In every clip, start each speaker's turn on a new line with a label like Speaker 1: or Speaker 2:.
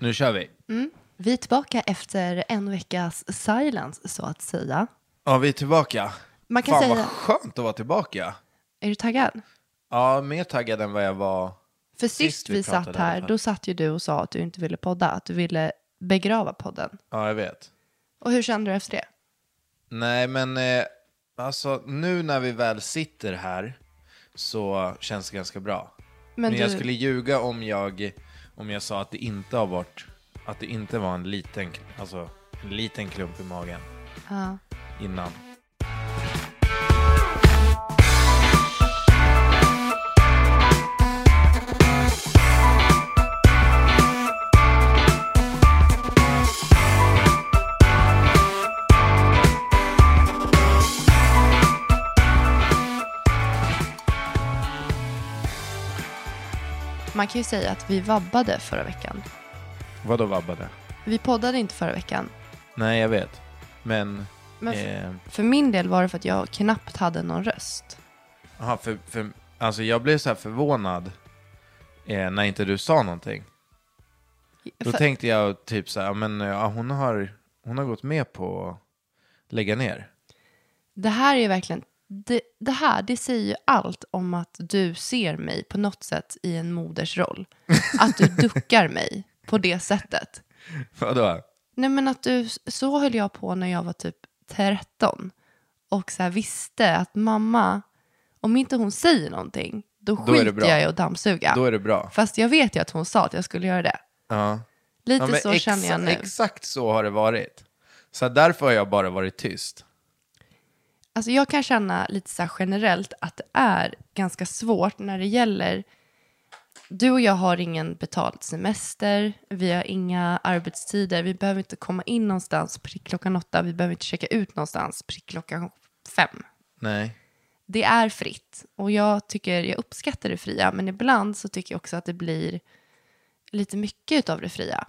Speaker 1: Nu kör vi.
Speaker 2: Vi är tillbaka efter en veckas silence, så att säga.
Speaker 1: Ja, vi är tillbaka.
Speaker 2: Man kan
Speaker 1: Fan
Speaker 2: säga...
Speaker 1: vad skönt att vara tillbaka.
Speaker 2: Är du taggad?
Speaker 1: Ja, mer taggad än vad jag var.
Speaker 2: För sist,
Speaker 1: Sist vi
Speaker 2: vi satt
Speaker 1: pratade i alla
Speaker 2: här,
Speaker 1: fall.
Speaker 2: då satt ju du och sa att du inte ville podda, att du ville begrava podden.
Speaker 1: Ja, jag vet.
Speaker 2: Och hur kände du efter det?
Speaker 1: Nej, men eh, alltså nu när vi väl sitter här så känns det ganska bra. Men,
Speaker 2: Men,
Speaker 1: jag
Speaker 2: du,
Speaker 1: skulle ljuga om jag, om jag sa att det inte har varit, att det inte var en liten, alltså, en liten klump i magen
Speaker 2: Ja.
Speaker 1: innan.
Speaker 2: Man kan ju säga att vi vabbade förra veckan.
Speaker 1: Vadå vabbade?
Speaker 2: Vi poddade inte förra veckan.
Speaker 1: Nej, jag vet. Men,
Speaker 2: Men f-
Speaker 1: eh,
Speaker 2: för min del var det för att jag knappt hade någon röst.
Speaker 1: aha, för, för, alltså jag blev så här förvånad eh, när inte du sa någonting. Då
Speaker 2: För-
Speaker 1: tänkte jag typ så här, ja, men ja, hon, har, hon har gått med på att lägga ner.
Speaker 2: Det här är ju verkligen, det, det här det säger ju allt om att du ser mig på något sätt i en modersroll. Att du duckar mig på det sättet.
Speaker 1: Vadå?
Speaker 2: Nej men att du, så höll jag på när jag var typ 13. Och så här visste att mamma, om inte hon säger någonting, då
Speaker 1: Då är det
Speaker 2: skiter
Speaker 1: bra.
Speaker 2: jag i att dammsuga.
Speaker 1: Då är det bra.
Speaker 2: Fast jag vet ju att hon sa att jag skulle göra det.
Speaker 1: Ja.
Speaker 2: Lite
Speaker 1: Ja, men
Speaker 2: så känner jag
Speaker 1: exa-
Speaker 2: nu.
Speaker 1: Exakt så har det varit. Så därför har jag bara varit tyst.
Speaker 2: Alltså jag kan känna lite så här generellt att det är ganska svårt när det gäller... Du och jag har ingen betald semester, vi har inga arbetstider, vi behöver inte komma in någonstans prick klockan åtta, vi behöver inte checka ut någonstans prick klockan fem.
Speaker 1: Nej.
Speaker 2: Det är fritt och jag tycker jag uppskattar det fria, men ibland så tycker jag också att det blir lite mycket av det fria.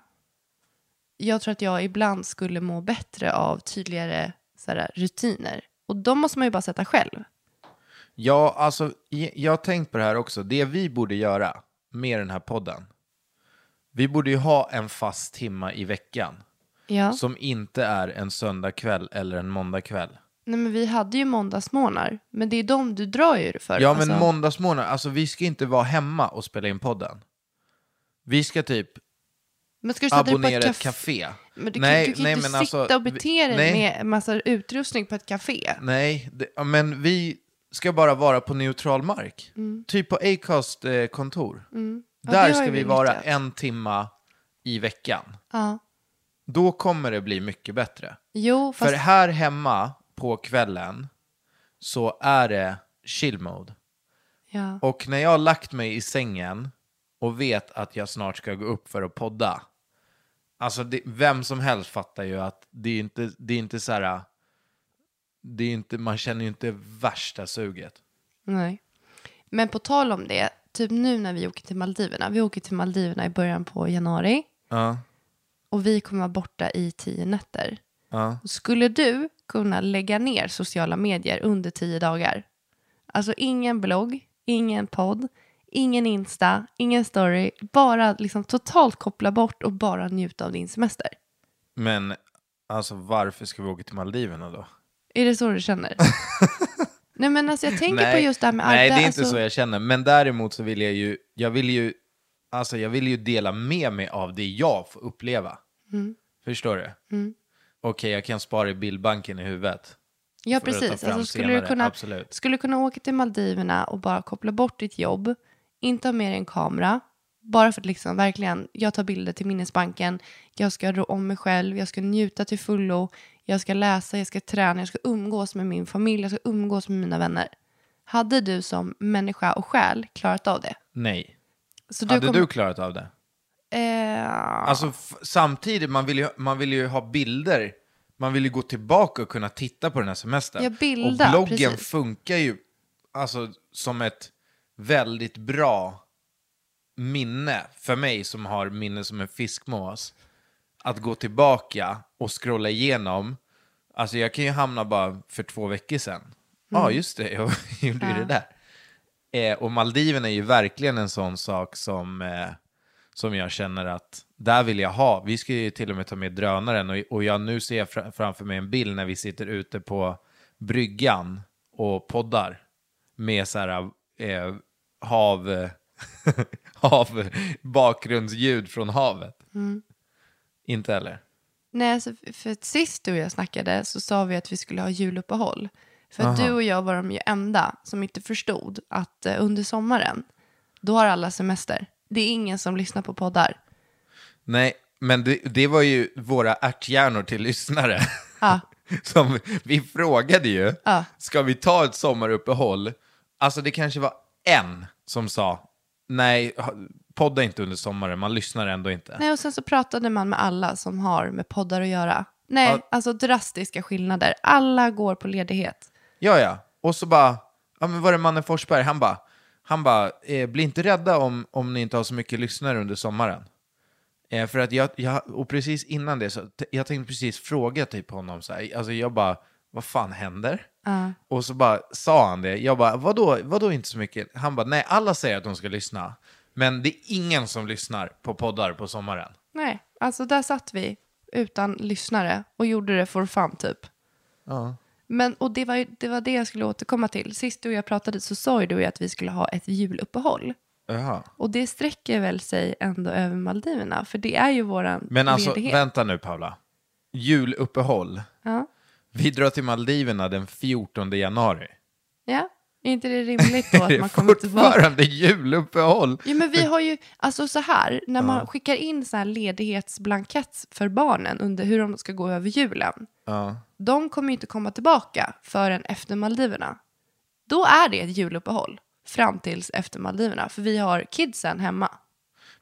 Speaker 2: Jag tror att jag ibland skulle må bättre av tydligare så här, rutiner. Och de måste man ju bara sätta själv.
Speaker 1: Ja, alltså, j- jag har tänkt på det här också. Det vi borde göra med den här podden. Vi borde ju ha en fast timma i veckan.
Speaker 2: Ja.
Speaker 1: Som inte är en söndagkväll eller en måndagkväll.
Speaker 2: Nej, men vi hade ju måndagsmorgnar, men det är de du drar ju det för.
Speaker 1: Ja, men
Speaker 2: alltså.
Speaker 1: måndagsmorgnar. Alltså, vi ska inte vara hemma och spela in podden. Vi ska typ
Speaker 2: men ska du sätta dig på
Speaker 1: abonnera
Speaker 2: ett
Speaker 1: ett
Speaker 2: café?
Speaker 1: café.
Speaker 2: Men du
Speaker 1: Nej,
Speaker 2: kan, du kan
Speaker 1: nej,
Speaker 2: ju
Speaker 1: men
Speaker 2: inte
Speaker 1: alltså,
Speaker 2: sitta och bete
Speaker 1: vi-
Speaker 2: dig
Speaker 1: nej.
Speaker 2: med en massa utrustning på ett café.
Speaker 1: Nej, det, ja, men vi ska bara vara på neutral mark. Typ på Acast-kontor.
Speaker 2: Mm. Ja, det
Speaker 1: Där
Speaker 2: har
Speaker 1: ska
Speaker 2: ju
Speaker 1: vi
Speaker 2: vi
Speaker 1: vara
Speaker 2: nyttjat.
Speaker 1: en timma i veckan.
Speaker 2: Ja.
Speaker 1: Då kommer det bli mycket bättre.
Speaker 2: Jo, fast
Speaker 1: För här hemma på kvällen så är det chill mode.
Speaker 2: ja.
Speaker 1: Och när jag har lagt mig i sängen och vet att jag snart ska gå upp för att podda. Alltså det, vem som helst fattar ju att det är inte, det är inte så här. Det är inte, man känner ju inte värsta suget.
Speaker 2: Nej. Men på tal om det, typ nu när vi åker till Maldiverna. Vi åker till Maldiverna i början på januari
Speaker 1: Ja,
Speaker 2: och vi kommer vara borta i tio nätter.
Speaker 1: ja.
Speaker 2: Skulle du kunna lägga ner sociala medier under tio dagar? Alltså ingen blogg, ingen podd, ingen Insta, ingen story. Bara liksom totalt koppla bort och bara njuta av din semester.
Speaker 1: Men alltså varför ska vi åka till Maldiverna då?
Speaker 2: Är det så du känner? Nej men alltså jag tänker
Speaker 1: Nej,
Speaker 2: på just det här med alltså-
Speaker 1: Nej, det är
Speaker 2: Arda,
Speaker 1: inte
Speaker 2: alltså,
Speaker 1: så jag känner. Men däremot så vill jag ju, jag vill ju Alltså jag vill ju dela med mig av det jag får uppleva.
Speaker 2: Mm.
Speaker 1: Förstår du? Okej, jag kan spara i bildbanken i huvudet.
Speaker 2: Ja,
Speaker 1: Får du ta
Speaker 2: precis.
Speaker 1: fram
Speaker 2: Alltså, skulle,
Speaker 1: senare,
Speaker 2: du kunna,
Speaker 1: absolut.
Speaker 2: skulle du kunna åka till Maldiverna och bara koppla bort ditt jobb, inte ha med dig en kamera, bara för att liksom verkligen, jag tar bilder till minnesbanken, jag ska rå om mig själv, jag ska njuta till fullo, jag ska läsa, jag ska träna, jag ska umgås med min familj, jag ska umgås med mina vänner. Hade du som människa och själ klarat av det?
Speaker 1: Nej.
Speaker 2: Så
Speaker 1: Hade
Speaker 2: kommer-
Speaker 1: du klarat av det?
Speaker 2: Eh,
Speaker 1: Alltså f- samtidigt, man vill, ju, man vill ju ha bilder. Man vill ju gå tillbaka och kunna titta på den här semestern.
Speaker 2: Ja, bilda,
Speaker 1: och bloggen
Speaker 2: precis.
Speaker 1: funkar ju alltså, som ett väldigt bra minne för mig som har minne som en fiskmås. Att gå tillbaka och scrolla igenom. Alltså jag kan ju hamna bara för två veckor sedan. Ja,
Speaker 2: Mm.
Speaker 1: ah, just det, jag gjorde ju det där. Eh, och Maldiven är ju verkligen en sån sak som, eh, som jag känner att där vill jag ha. Vi ska ju till och med ta med drönaren och, och jag nu ser jag fra, framför mig en bild när vi sitter ute på bryggan och poddar med så här eh, hav, hav, bakgrundsljud från havet. Inte heller.
Speaker 2: Nej, alltså, f- för att sist du och jag snackade så sa vi att vi skulle ha juluppehåll. För att du och jag var de ju enda som inte förstod att eh, under sommaren, då har alla semester. Det är ingen som lyssnar på poddar.
Speaker 1: Nej, men det, det var ju våra ärthjärnor till lyssnare.
Speaker 2: Ja.
Speaker 1: Som, vi frågade ju, ska vi ta ett sommaruppehåll? Alltså det kanske var en som sa, nej, ha- podda inte under sommaren, man lyssnar ändå inte.
Speaker 2: Nej, och sen så pratade man med alla som har med poddar att göra. Nej,
Speaker 1: Ja.
Speaker 2: alltså drastiska skillnader. Alla går på ledighet.
Speaker 1: Ja, ja. Och så bara, ja men var det mannen Forsberg, han bara, han bara, eh, bli inte rädda om, om ni inte har så mycket lyssnare under sommaren. Eh, för att jag, jag, och precis innan det, så, t- jag tänkte precis fråga typ honom så här, alltså jag bara, vad fan händer? Och så bara sa han det, jag bara, vadå, vadå inte så mycket? Han bara, nej alla säger att de ska lyssna, men det är ingen som lyssnar på poddar på sommaren.
Speaker 2: Nej, alltså där satt vi utan lyssnare och gjorde det for fun typ.
Speaker 1: Ja.
Speaker 2: Men, och det var, ju- det var det jag skulle återkomma till. Sist du och jag pratade så sa ju du att vi skulle ha ett juluppehåll.
Speaker 1: Jaha.
Speaker 2: Och det sträcker väl sig ändå över Maldiverna, för det är ju våran
Speaker 1: Men alltså,
Speaker 2: ledighet.
Speaker 1: vänta nu Paula. Juluppehåll.
Speaker 2: Ja.
Speaker 1: Vi drar till Maldiverna den 14 januari.
Speaker 2: ja, är inte det rimligt då
Speaker 1: Det
Speaker 2: att
Speaker 1: är
Speaker 2: man kommer tillbaka?
Speaker 1: fortfarande juluppehåll.
Speaker 2: Jo, men vi har ju, alltså så här, när man skickar in så här ledighetsblankett för barnen under hur de ska gå över julen,
Speaker 1: Ja.
Speaker 2: de kommer ju inte komma tillbaka förrän efter Maldiverna. Då är det ett juluppehåll fram tills efter Maldiverna, för vi har kidsen hemma.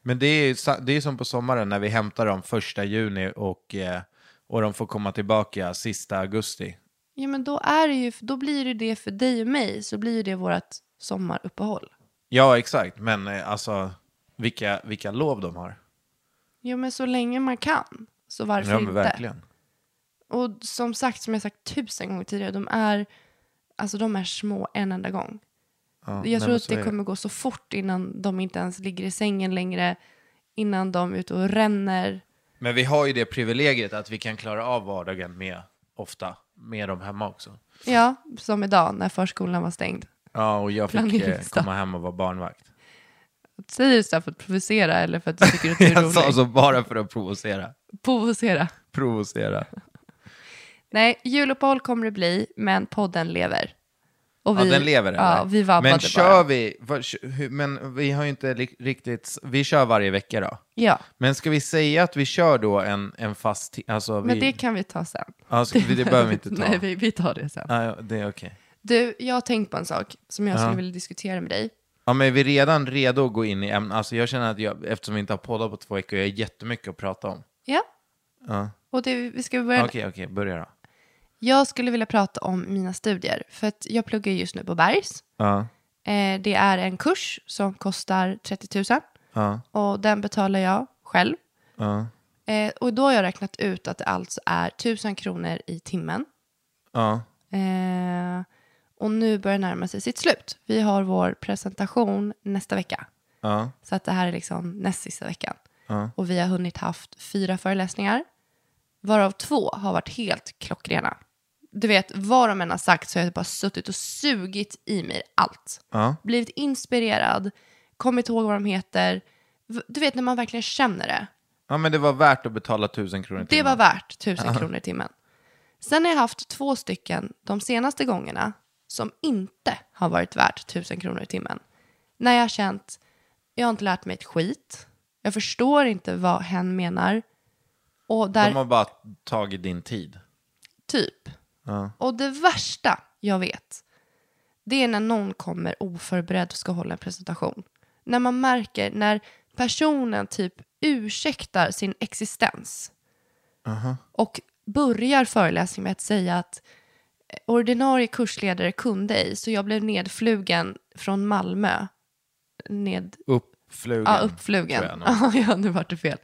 Speaker 1: Men det är, sa- det är som på sommaren när vi hämtar dem första juni och, eh, och de får komma tillbaka sista augusti.
Speaker 2: Ja, men då, är det ju, då blir det det för dig och mig, så blir ju det vårt sommaruppehåll.
Speaker 1: Ja, exakt. Men eh, alltså, vilka, vilka lov de har.
Speaker 2: Jo, men så länge man kan, så varför
Speaker 1: Ja,
Speaker 2: inte?
Speaker 1: men verkligen.
Speaker 2: Och som sagt, som jag sagt tusen gånger tidigare, de är, alltså de är små en enda gång. jag tror
Speaker 1: men
Speaker 2: att
Speaker 1: så är
Speaker 2: det
Speaker 1: det.
Speaker 2: kommer gå så fort innan de inte ens ligger i sängen längre, innan de är ute och ränner.
Speaker 1: Men vi har ju det privilegiet att vi kan klara av vardagen med, ofta, med dem hemma också.
Speaker 2: Ja, som idag när förskolan var stängd.
Speaker 1: Ja, och jag fick eh,
Speaker 2: Planeringsdag.
Speaker 1: komma hem och vara barnvakt.
Speaker 2: Säger du så här för att provocera eller för att du tycker att det är
Speaker 1: Jag sa
Speaker 2: roligt?
Speaker 1: så bara för att provocera.
Speaker 2: Provocera.
Speaker 1: Provocera.
Speaker 2: Nej, juluppehåll kommer det bli, men podden lever. Och
Speaker 1: Ja, den lever
Speaker 2: Ja,
Speaker 1: eller?
Speaker 2: vi vabbade
Speaker 1: Men kör
Speaker 2: bara.
Speaker 1: vi, vad- kö- hur- men vi har ju inte li- riktigt, s- vi kör varje vecka då.
Speaker 2: Ja,
Speaker 1: Men ska vi säga att vi kör då en, en fast, ti- alltså vi,
Speaker 2: men det kan vi ta sen.
Speaker 1: ja, ska, det, det behöver vi inte ta.
Speaker 2: Nej, vi, vi tar det sen.
Speaker 1: Ja, ja, det är okej.
Speaker 2: Du, jag har tänkt på en sak som jag skulle vilja diskutera med dig.
Speaker 1: Ja, men är vi redan redo att gå in i ämnet? Alltså jag känner att jag, eftersom vi inte har poddat på två veckor, jag har jättemycket att prata om.
Speaker 2: Ja,
Speaker 1: Ja.
Speaker 2: och det, vi ska
Speaker 1: Okej,
Speaker 2: börja.
Speaker 1: okej, börja då.
Speaker 2: Jag skulle vilja prata om mina studier, för att jag pluggar just nu på Bergs.
Speaker 1: Ja,
Speaker 2: Eh, det är en kurs som kostar 30 000
Speaker 1: ja,
Speaker 2: och den betalar jag själv.
Speaker 1: ja,
Speaker 2: Eh, och då har jag räknat ut att det alltså är 1000 kronor i timmen.
Speaker 1: ja.
Speaker 2: Eh, och nu börjar det närma sig sitt slut. Vi har vår presentation nästa vecka.
Speaker 1: ja.
Speaker 2: Så att det här är liksom näst sista veckan. Och vi har hunnit haft fyra föreläsningar. Varav två har varit helt klockrena. Du vet, vad de än har sagt så har jag bara suttit och sugit i mig allt.
Speaker 1: Ja.
Speaker 2: Blivit inspirerad, kommit ihåg vad de heter, v- du vet när man verkligen känner det.
Speaker 1: Ja, men det var värt att betala tusen kronor i
Speaker 2: Det var
Speaker 1: timmen.
Speaker 2: värt 1000 kronor i timmen. Sen har jag haft två stycken de senaste gångerna som inte har varit värt 1000 kronor i timmen. När jag har känt, jag har inte lärt mig ett skit. Jag förstår inte vad hen menar. Och där,
Speaker 1: De har bara tagit din tid.
Speaker 2: typ. Och det värsta jag vet, det är när någon kommer oförberedd och ska hålla en presentation. När man märker när personen typ ursäktar sin existens. Och börjar föreläsningen med att säga att ordinarie kursledare kunde ej, så jag blev nedflugen från Malmö. Ned,
Speaker 1: Uppflugen.
Speaker 2: ja,
Speaker 1: tror
Speaker 2: uppflugen.
Speaker 1: jag nog.
Speaker 2: Ja, ja, nu vart det fel.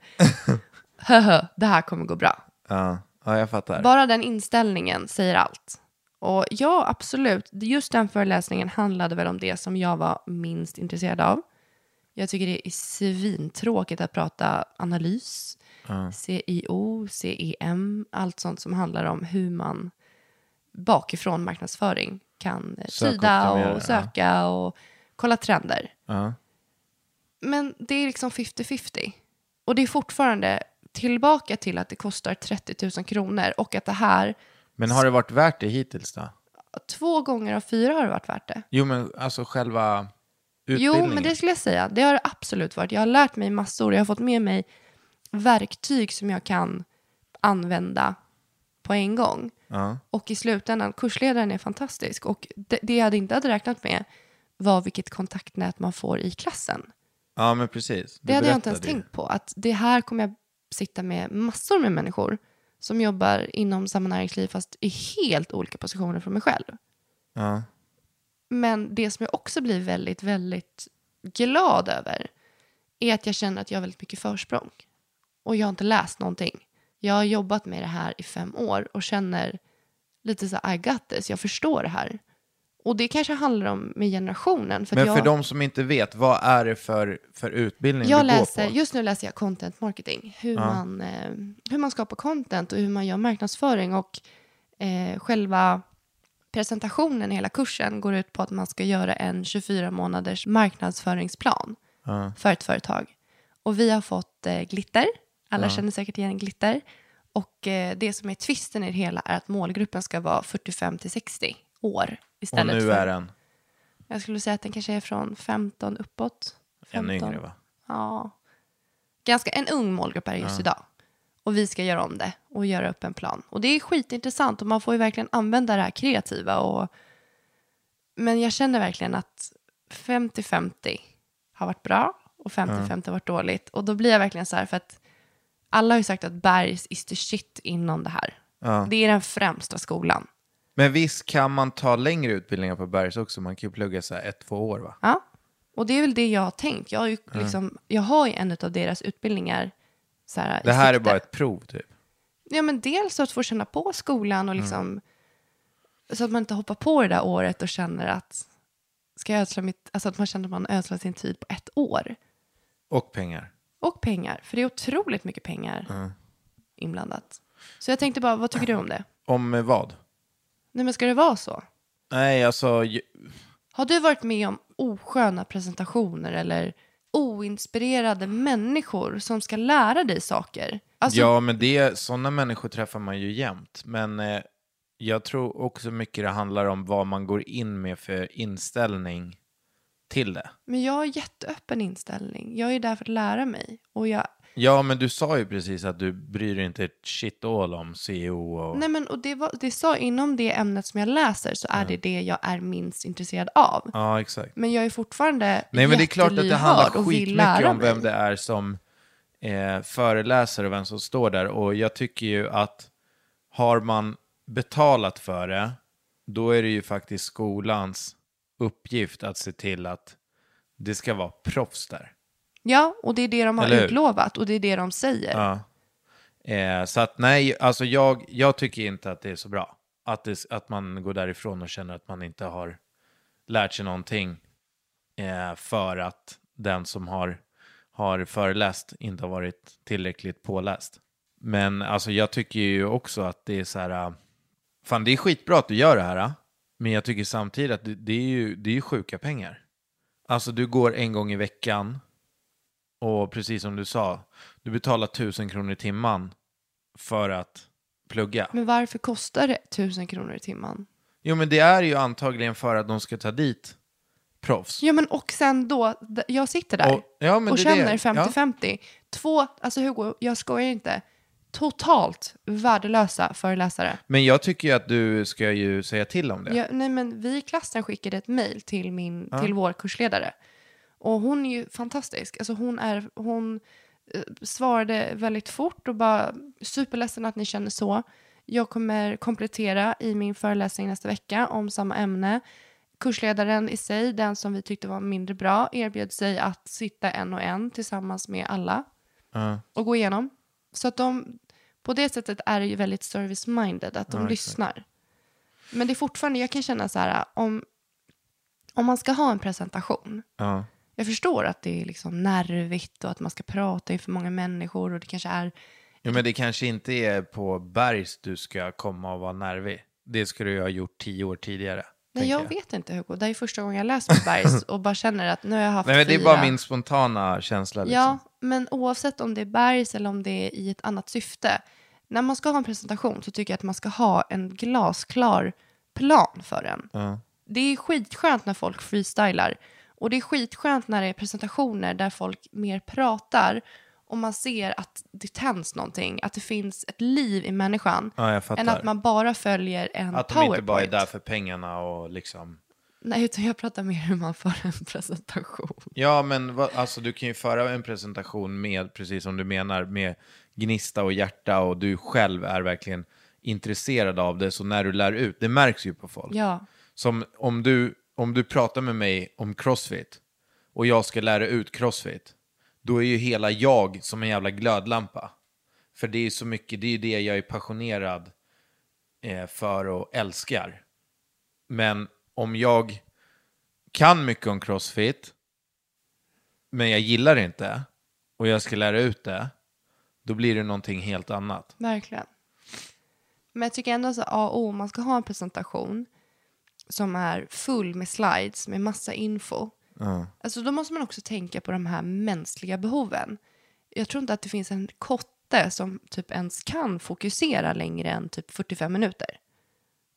Speaker 2: Höhö, det här kommer gå bra.
Speaker 1: Ja. ja, jag fattar.
Speaker 2: Bara den inställningen säger allt. Och ja, absolut. Just den föreläsningen handlade väl om det som jag var minst intresserad av. Jag tycker det är svintråkigt att prata analys, CIO, CEM, E allt sånt som handlar om hur man bakifrån marknadsföring kan eh, tyda
Speaker 1: Sökoptimera, ja.
Speaker 2: och söka och kolla trender.
Speaker 1: Ja.
Speaker 2: Men det är liksom 50-50. Och det är fortfarande tillbaka till att det kostar 30 000 kronor och att det här,
Speaker 1: Men har det varit värt det hittills då?
Speaker 2: två gånger av fyra har det varit värt det.
Speaker 1: Jo, men alltså själva utbildningen.
Speaker 2: Jo, men det skulle jag säga. Det har det absolut varit. Jag har lärt mig massor. Jag har fått med mig verktyg som jag kan använda på en gång.
Speaker 1: Ja.
Speaker 2: Och i slutändan, kursledaren är fantastisk. Och det, det jag hade inte hade räknat med var vilket kontaktnät man får i klassen.
Speaker 1: ja, men precis. Du
Speaker 2: Det hade jag inte ens
Speaker 1: berättade ju.
Speaker 2: tänkt på. Att det här kommer jag sitta med massor med människor som jobbar inom samma näringsliv fast i helt olika positioner från mig själv.
Speaker 1: Ja.
Speaker 2: Men det som jag också blir väldigt, väldigt glad över är att jag känner att jag har väldigt mycket försprång. Och jag har inte läst någonting. Jag har jobbat med det här i fem år och känner lite så här, I got this, jag förstår det här. Och det kanske handlar om med generationen. För att
Speaker 1: Men
Speaker 2: jag...
Speaker 1: för de som inte vet, vad är det för, för utbildning
Speaker 2: jag
Speaker 1: du
Speaker 2: läser,
Speaker 1: går på?
Speaker 2: Just nu läser jag content marketing. Hur, man, eh, hur man skapar content och hur man gör marknadsföring. Och eh, själva presentationen i hela kursen går ut på att man ska göra en 24 månaders marknadsföringsplan för ett företag. Och vi har fått eh, glitter. Alla känner säkert igen glitter. Och eh, det som är twisten i det hela är att målgruppen ska vara 45 till 60 år
Speaker 1: Och
Speaker 2: istället
Speaker 1: nu
Speaker 2: för...
Speaker 1: är den
Speaker 2: Jag skulle säga att den kanske är från 15 uppåt. 15.
Speaker 1: ännu yngre va?
Speaker 2: Ja. Ganska en ung målgrupp är det just idag. Och vi ska göra om det och göra upp en plan. Och det är skitintressant och man får ju verkligen använda det här kreativa. Och... Men jag känner verkligen att 50-50 har varit bra och 50-50 har varit dåligt. Och då blir jag verkligen så här för att alla har ju sagt att Bergs is the shit inom det här. Det är den främsta skolan.
Speaker 1: Men visst kan man ta längre utbildningar på Bergs också? Man kan ju plugga så här ett, två år va?
Speaker 2: Ja, och det är väl det jag har tänkt. Jag har ju, liksom, jag har ju en av deras utbildningar så här, i
Speaker 1: Det här är
Speaker 2: sikte.
Speaker 1: bara ett prov typ.
Speaker 2: Ja, men dels att få känna på skolan och liksom så att man inte hoppar på det där året och känner att ska jag ödsla mitt, alltså att man känner att man ödslar sin tid på ett år
Speaker 1: Och pengar.
Speaker 2: och pengar, för det är otroligt mycket pengar inblandat. Så jag tänkte bara, vad tycker du om det?
Speaker 1: Om eh, vad?
Speaker 2: Nej, men ska det vara så?
Speaker 1: Nej, alltså ju-
Speaker 2: Har du varit med om osköna presentationer eller oinspirerade människor som ska lära dig saker? Alltså,
Speaker 1: ja, men det, sådana människor träffar man ju jämt. Men eh, jag tror också mycket det handlar om vad man går in med för inställning till det.
Speaker 2: Men jag har jätteöppen inställning. Jag är där för att lära mig. Och jag,
Speaker 1: Ja, men du sa ju precis att du bryr dig inte ett shit all om CEO och...
Speaker 2: nej men, och det, var, det sa inom det ämnet som jag läser så är det det jag är minst intresserad av.
Speaker 1: Ja, exakt.
Speaker 2: Men jag är fortfarande
Speaker 1: Nej, men det är klart att det
Speaker 2: jättelyhörd
Speaker 1: handlar
Speaker 2: och vill
Speaker 1: skitmycket
Speaker 2: lära
Speaker 1: om vem
Speaker 2: mig.
Speaker 1: det är som eh, föreläser och vem som står där. Och jag tycker ju att har man betalat för det, då är det ju faktiskt skolans uppgift att se till att det ska vara proffs där.
Speaker 2: Ja, och det är det de har
Speaker 1: Eller hur?
Speaker 2: utlovat och det är det de säger.
Speaker 1: Ja. Eh, så att nej, alltså jag, jag tycker inte att det är så bra. Att, det, att man går därifrån och känner att man inte har lärt sig någonting eh, för att den som har, har föreläst inte har varit tillräckligt påläst. Men alltså jag tycker ju också att det är så här, eh, fan det är skitbra att du gör det här, eh, men jag tycker samtidigt att det, det, är, ju, det är ju sjuka pengar. Alltså du går en gång i veckan Och precis som du sa, du betalar tusen kronor i timman för att plugga.
Speaker 2: Men varför kostar det tusen kronor i timmen?
Speaker 1: Jo, men det är ju antagligen för att de ska ta dit proffs.
Speaker 2: Ja, men och sen då, d- jag sitter där
Speaker 1: Och- ja, men
Speaker 2: och
Speaker 1: det är
Speaker 2: känner
Speaker 1: det.
Speaker 2: 50-50. Två, alltså Hugo, jag skojar inte, totalt värdelösa föreläsare.
Speaker 1: Men jag tycker ju att du ska ju säga till om det.
Speaker 2: Ja, nej, men vi i klassen skickade ett mejl till, min till vår kursledare. Och hon är ju fantastisk. Alltså hon, är, hon eh, svarade väldigt fort och bara superledsen att ni känner så. Jag kommer komplettera i min föreläsning nästa vecka om samma ämne. Kursledaren i sig, den som vi tyckte var mindre bra, erbjöd sig att sitta en och en tillsammans med alla
Speaker 1: Ja.
Speaker 2: och gå igenom. Så att de, på det sättet är det ju väldigt service-minded, att de lyssnar. Men det är fortfarande, jag kan känna så här, om, om man ska ha en presentation,
Speaker 1: Ja.
Speaker 2: jag förstår att det är liksom nervigt och att man ska prata inför många människor och det kanske är,
Speaker 1: Jo, men det kanske inte är på bergs du ska komma och vara nervig. Det skulle du ju ha gjort tio år tidigare.
Speaker 2: nej
Speaker 1: tänker
Speaker 2: jag vet inte Hugo, det här är första gången jag läser på Bergs och bara känner att nu har jag haft
Speaker 1: Nej, men det är
Speaker 2: fyra-
Speaker 1: bara min spontana känsla. Liksom.
Speaker 2: Ja, men oavsett om det är bergs eller om det är i ett annat syfte. När man ska ha en presentation så tycker jag att man ska ha en glasklar plan för den. Det är skitskönt när folk freestylar. Och det är skitskönt när det är presentationer där folk mer pratar och man ser att det tänds någonting, att det finns ett liv i människan.
Speaker 1: Ja, jag fattar.
Speaker 2: än att man bara följer en
Speaker 1: Att de
Speaker 2: powerpoint.
Speaker 1: inte bara är där för pengarna och liksom...
Speaker 2: Nej, utan jag pratar mer hur man får en presentation.
Speaker 1: Ja, men vad, alltså, du kan ju föra en presentation med, precis som du menar, med gnista och hjärta och du själv är verkligen intresserad av det. Så när du lär ut, det märks ju på folk.
Speaker 2: Ja.
Speaker 1: Som om du, om du pratar med mig om crossfit och jag ska lära ut crossfit, då är ju hela jag som en jävla glödlampa. För det är ju så mycket, det är ju det jag är passionerad eh, för och älskar. Men om jag kan mycket om crossfit, men jag gillar det inte och jag ska lära ut det, då blir det någonting helt annat.
Speaker 2: Verkligen. Men jag tycker ändå att AO, om man ska ha en presentation som är full med slides med massa info. Alltså då måste man också tänka på de här mänskliga behoven. Jag tror inte att det finns en kotte som typ ens kan fokusera längre än typ 45 minuter.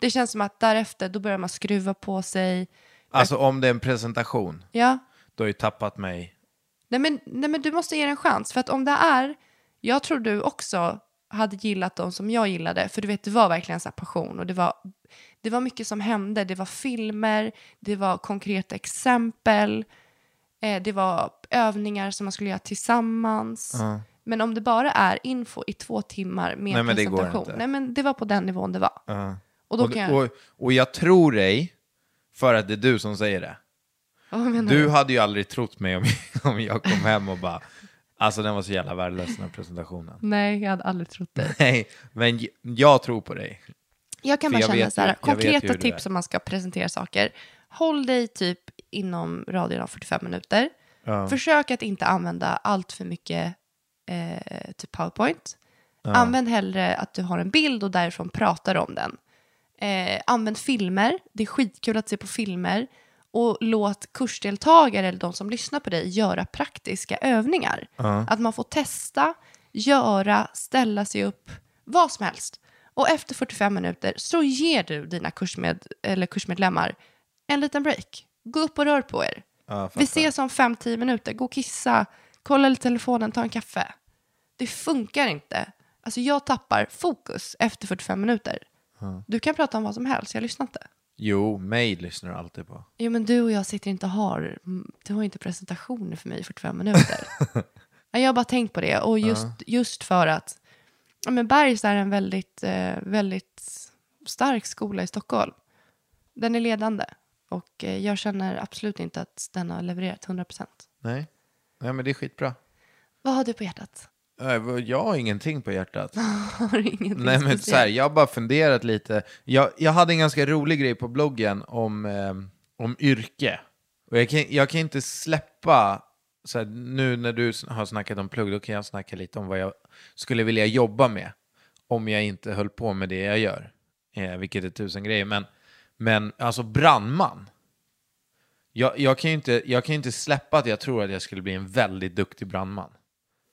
Speaker 2: Det känns som att därefter då börjar man skruva på sig.
Speaker 1: Alltså om det är en presentation,
Speaker 2: Ja,
Speaker 1: då har jag ju tappat mig
Speaker 2: Nej men, nej men du måste ge den en chans. För att om det är, jag tror du också hade gillat dem som jag gillade. För du vet, det var verkligen så här passion och det var, det var mycket som hände. Det var filmer, det var konkreta exempel, eh, det var övningar som man skulle göra tillsammans. Men om det bara är info i två timmar med
Speaker 1: Nej, men det går
Speaker 2: presentation.
Speaker 1: inte.
Speaker 2: Nej men det var på den nivån det var. Och då
Speaker 1: Och,
Speaker 2: kan jag,
Speaker 1: och, och jag tror dig för att det är du som säger det.
Speaker 2: vad menar
Speaker 1: Du hade ju aldrig trott mig om, om jag kom hem och bara, alltså den var så jävla värdelös den här presentationen.
Speaker 2: Nej, jag hade aldrig trott det.
Speaker 1: Nej, men j- jag tror på dig.
Speaker 2: Jag kan
Speaker 1: För
Speaker 2: bara
Speaker 1: jag
Speaker 2: känna
Speaker 1: vet
Speaker 2: så här,
Speaker 1: ju- jag vet ju
Speaker 2: konkreta
Speaker 1: hur du är.
Speaker 2: tips om man ska presentera saker. Håll dig typ inom radion av 45 minuter. Försök att inte använda allt för mycket eh, typ powerpoint. Använd hellre att du har en bild och därifrån pratar om den. Eh, använd filmer, det är skitkul att se på filmer. Och låt kursdeltagare eller de som lyssnar på dig göra praktiska övningar. Att man får testa, göra, ställa sig upp, vad som helst. Och efter 45 minuter så ger du dina kursmed, eller kursmedlemmar en liten break. Gå upp och rör på er. Vi ses om 5-10 minuter, gå och kissa, kolla lite telefonen, ta en kaffe. Det funkar inte. Alltså jag tappar fokus efter 45 minuter. Du kan prata om vad som helst, jag lyssnar inte.
Speaker 1: Jo, mig lyssnar du alltid på.
Speaker 2: Jo men du och jag sitter inte och har, mm, du har inte presentationer för mig i 45 minuter. Nej, jag har bara tänkt på det och just, just för att ja, men Bergs är en väldigt, eh, väldigt stark skola i Stockholm. Den är ledande och eh, jag känner absolut inte att den har levererat 100%.
Speaker 1: Nej, Nej men det är skitbra.
Speaker 2: Vad har du på hjärtat?
Speaker 1: Nej, vad- Jag har ingenting på hjärtat.
Speaker 2: Har du ingenting
Speaker 1: Nej men
Speaker 2: speciellt?
Speaker 1: så här, jag har bara funderat lite. Jag, jag hade en ganska rolig grej på bloggen om, ehm, om yrke. Och jag kan, jag kan inte släppa, så här, nu när du s- har snackat om plugg, då kan jag snacka lite om vad jag skulle vilja jobba med. Om jag inte höll på med det jag gör. Eh, vilket är tusen grejer. Men, men alltså brandman. Jag, jag, kan ju inte, jag kan ju inte släppa att jag tror att jag skulle bli en väldigt duktig brandman.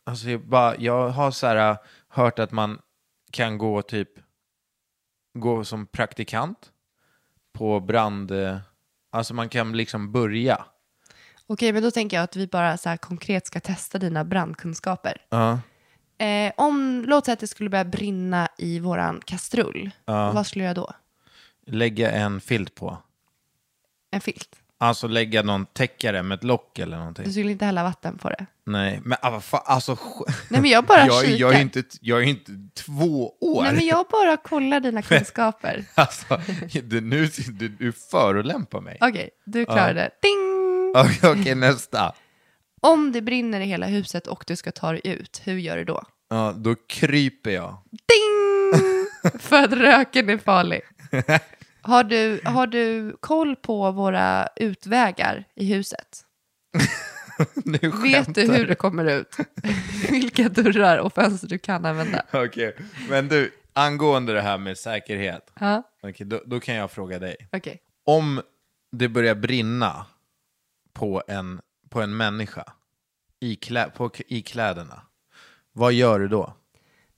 Speaker 1: Alltså jag, bara, jag har så här, äh, hört att man kan gå typ gå som praktikant på brand... eh, Alltså man kan liksom börja.
Speaker 2: Okej, men då tänker jag att vi bara så här konkret ska testa dina brandkunskaper. Eh, om, låt säga att det skulle börja brinna i våran kastrull, vad skulle jag göra då?
Speaker 1: Lägga en filt på.
Speaker 2: En filt?
Speaker 1: Alltså lägga någon täckare med ett lock eller någonting.
Speaker 2: Du skulle inte hälla vatten på det?
Speaker 1: Nej, men ah, vad fan, alltså... sk-
Speaker 2: Nej, men jag bara
Speaker 1: jag, jag, är
Speaker 2: kikar.
Speaker 1: inte, jag är inte två år.
Speaker 2: Nej, men jag bara kollar dina kunskaper.
Speaker 1: Alltså, du, nu, du, du förolämpar mig.
Speaker 2: Okej, du klarade det. Ding!
Speaker 1: Okej, okej, nästa.
Speaker 2: Om det brinner i hela huset och du ska ta dig ut, hur gör du då?
Speaker 1: Ja, då kryper jag.
Speaker 2: Ding! För att röken är farlig. Har du, har du koll på våra utvägar i huset?
Speaker 1: Nu
Speaker 2: Vet
Speaker 1: skämtar
Speaker 2: du hur det kommer ut? Vilka dörrar och fönster du kan använda?
Speaker 1: Okej, men du, angående det här med säkerhet.
Speaker 2: Ja,
Speaker 1: Okej, då, då kan jag fråga dig.
Speaker 2: okej.
Speaker 1: Om det börjar brinna på en, på en människa i, klä, på, i kläderna, vad gör du då?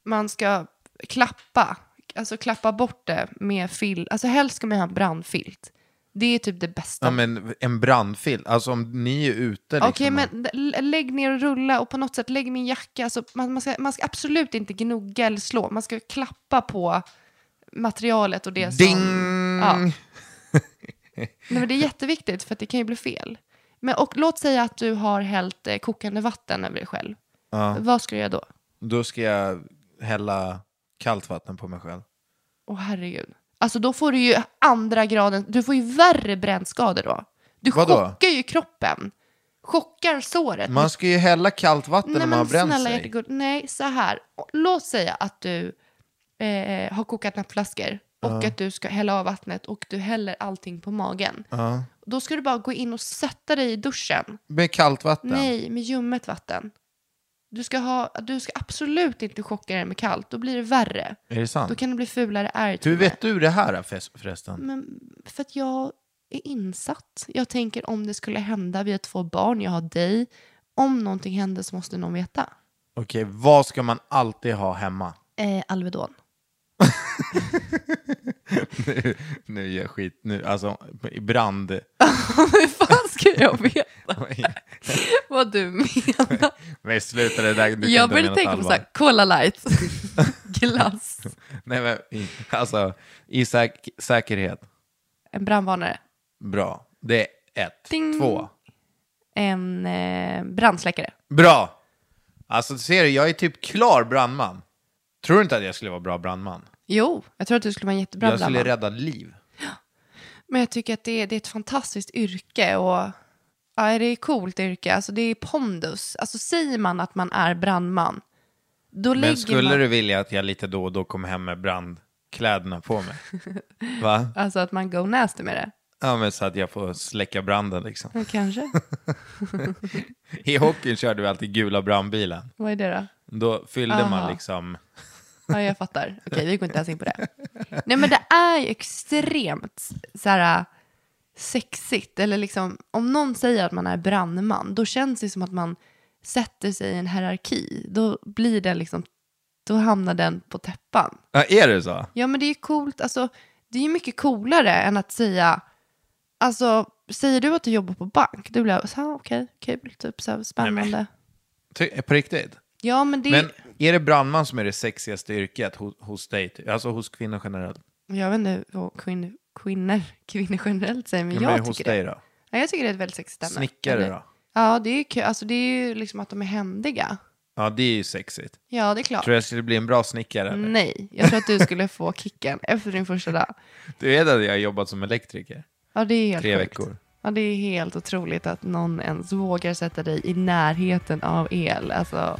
Speaker 2: Man ska klappa, alltså klappa bort det med filt. Alltså helst ska man ha en brandfilt. Det är typ det bästa.
Speaker 1: Ja, men en brandfilt, alltså om ni är ute liksom,
Speaker 2: Okej, men l- lägg ner och rulla och på något sätt lägg min jacka. Alltså, man, man, ska, man ska absolut inte gnugga eller slå. Man ska klappa på materialet och det
Speaker 1: Ding!
Speaker 2: som... Ja. Nej, men det är jätteviktigt för att det kan ju bli fel. Men, och låt säga att du har hällt eh, kokande vatten över dig själv. Vad ska du göra då?
Speaker 1: Då ska jag hälla kallt vatten på mig själv.
Speaker 2: Åh herregud. Alltså då får du ju andra graden, du får ju värre brännskador då. Du
Speaker 1: Vadå?
Speaker 2: chockar ju kroppen. Chockar såret.
Speaker 1: Man ska ju hälla kallt vatten
Speaker 2: Nej,
Speaker 1: när man har
Speaker 2: men
Speaker 1: bränt
Speaker 2: snälla
Speaker 1: sig.
Speaker 2: hjärtegull, nej så här. Låt säga att du eh, har kokat nappflaskor och att du ska hälla av vattnet och du häller allting på magen. Då ska du bara gå in och sätta dig i duschen.
Speaker 1: Med kallt vatten?
Speaker 2: Nej, med ljummet vatten. Du ska, ha, du ska absolut inte chocka dig med kallt, då blir det värre.
Speaker 1: Är det sant?
Speaker 2: Då kan det bli fulare ärr. till
Speaker 1: Hur
Speaker 2: och med.
Speaker 1: vet du det här förres- förresten?
Speaker 2: Men för att jag är insatt. Jag tänker om det skulle hända, vi har två barn, jag har dig. Om någonting händer så måste någon veta.
Speaker 1: Okej, vad ska man alltid ha hemma?
Speaker 2: Eh, Alvedon.
Speaker 1: nu, nu gör jag skit. Nu, alltså, i brand.
Speaker 2: Hur fan ska jag veta vad du menar?
Speaker 1: Men sluta det där. Du kan
Speaker 2: Jag
Speaker 1: inte
Speaker 2: började
Speaker 1: mena
Speaker 2: tänka på
Speaker 1: allvar.
Speaker 2: så här, Cola light, glass,
Speaker 1: Nej, men, i- alltså, i säk- säkerhet.
Speaker 2: en brandvarnare,
Speaker 1: Bra. Det är ett.
Speaker 2: Ding.
Speaker 1: Två.
Speaker 2: en eh, brandsläckare.
Speaker 1: Bra! Alltså, ser du, jag är typ klar brandman. Tror du inte att jag skulle vara bra brandman?
Speaker 2: Jo, jag tror att du skulle vara en jättebra
Speaker 1: jag skulle rädda
Speaker 2: brandman.
Speaker 1: liv.
Speaker 2: Men jag tycker att det är, det är ett fantastiskt yrke och ja, det är ett coolt yrke. Alltså det är pondus. Alltså säger man att man är brandman, då
Speaker 1: Men
Speaker 2: lägger
Speaker 1: skulle
Speaker 2: man...
Speaker 1: du vilja att jag lite då och då kom hem med brandkläderna på mig? Va?
Speaker 2: Alltså att man go nasty med det.
Speaker 1: Ja, men så att jag får släcka branden liksom.
Speaker 2: Ja, Kanske.
Speaker 1: I hockeyn körde vi alltid gula brandbilen.
Speaker 2: Vad är det då?
Speaker 1: Då fyllde
Speaker 2: Aha.
Speaker 1: man liksom...
Speaker 2: Ja, jag fattar. Okej, vi går inte ens in på det. Nej, men det är ju extremt så här äh, sexigt. Eller liksom, om någon säger att man är brandman, då känns det som att man sätter sig i en hierarki. Då blir den liksom, då hamnar den på täppan.
Speaker 1: Ja, är det så?
Speaker 2: Ja, men det är ju coolt. Alltså, det är ju mycket coolare än att säga... Alltså, säger du att du jobbar på bank, då blir jag så här, "Ah, okej, kul, typ så här, spännande.
Speaker 1: Ty- på riktigt?
Speaker 2: Ja, men det...
Speaker 1: Men är det brandman som är det sexigaste yrket hos, hos dig? ty- Alltså hos kvinnor generellt?
Speaker 2: Jag vet inte vad kvin, kvinnor, kvinnor generellt säger, men
Speaker 1: Ja,
Speaker 2: jag
Speaker 1: men hos
Speaker 2: tycker det.
Speaker 1: dig då?
Speaker 2: Ja, jag tycker det är ett väldigt sexigt ämne.
Speaker 1: Snickare
Speaker 2: Eller-
Speaker 1: då?
Speaker 2: Ja, det är ju kul. Alltså, det är ju liksom att de är händiga.
Speaker 1: Ja, det är ju sexigt.
Speaker 2: Ja, Mm. det är klart.
Speaker 1: Tror du jag skulle bli en bra snickare? eller?
Speaker 2: Nej, jag tror att du skulle få kicken efter din första dag.
Speaker 1: Du vet att jag har jobbat som elektriker?
Speaker 2: Ja, det är helt
Speaker 1: Tre
Speaker 2: sjukt.
Speaker 1: veckor.
Speaker 2: Ja, det är helt otroligt att någon ens vågar sätta dig i närheten av el. Alltså,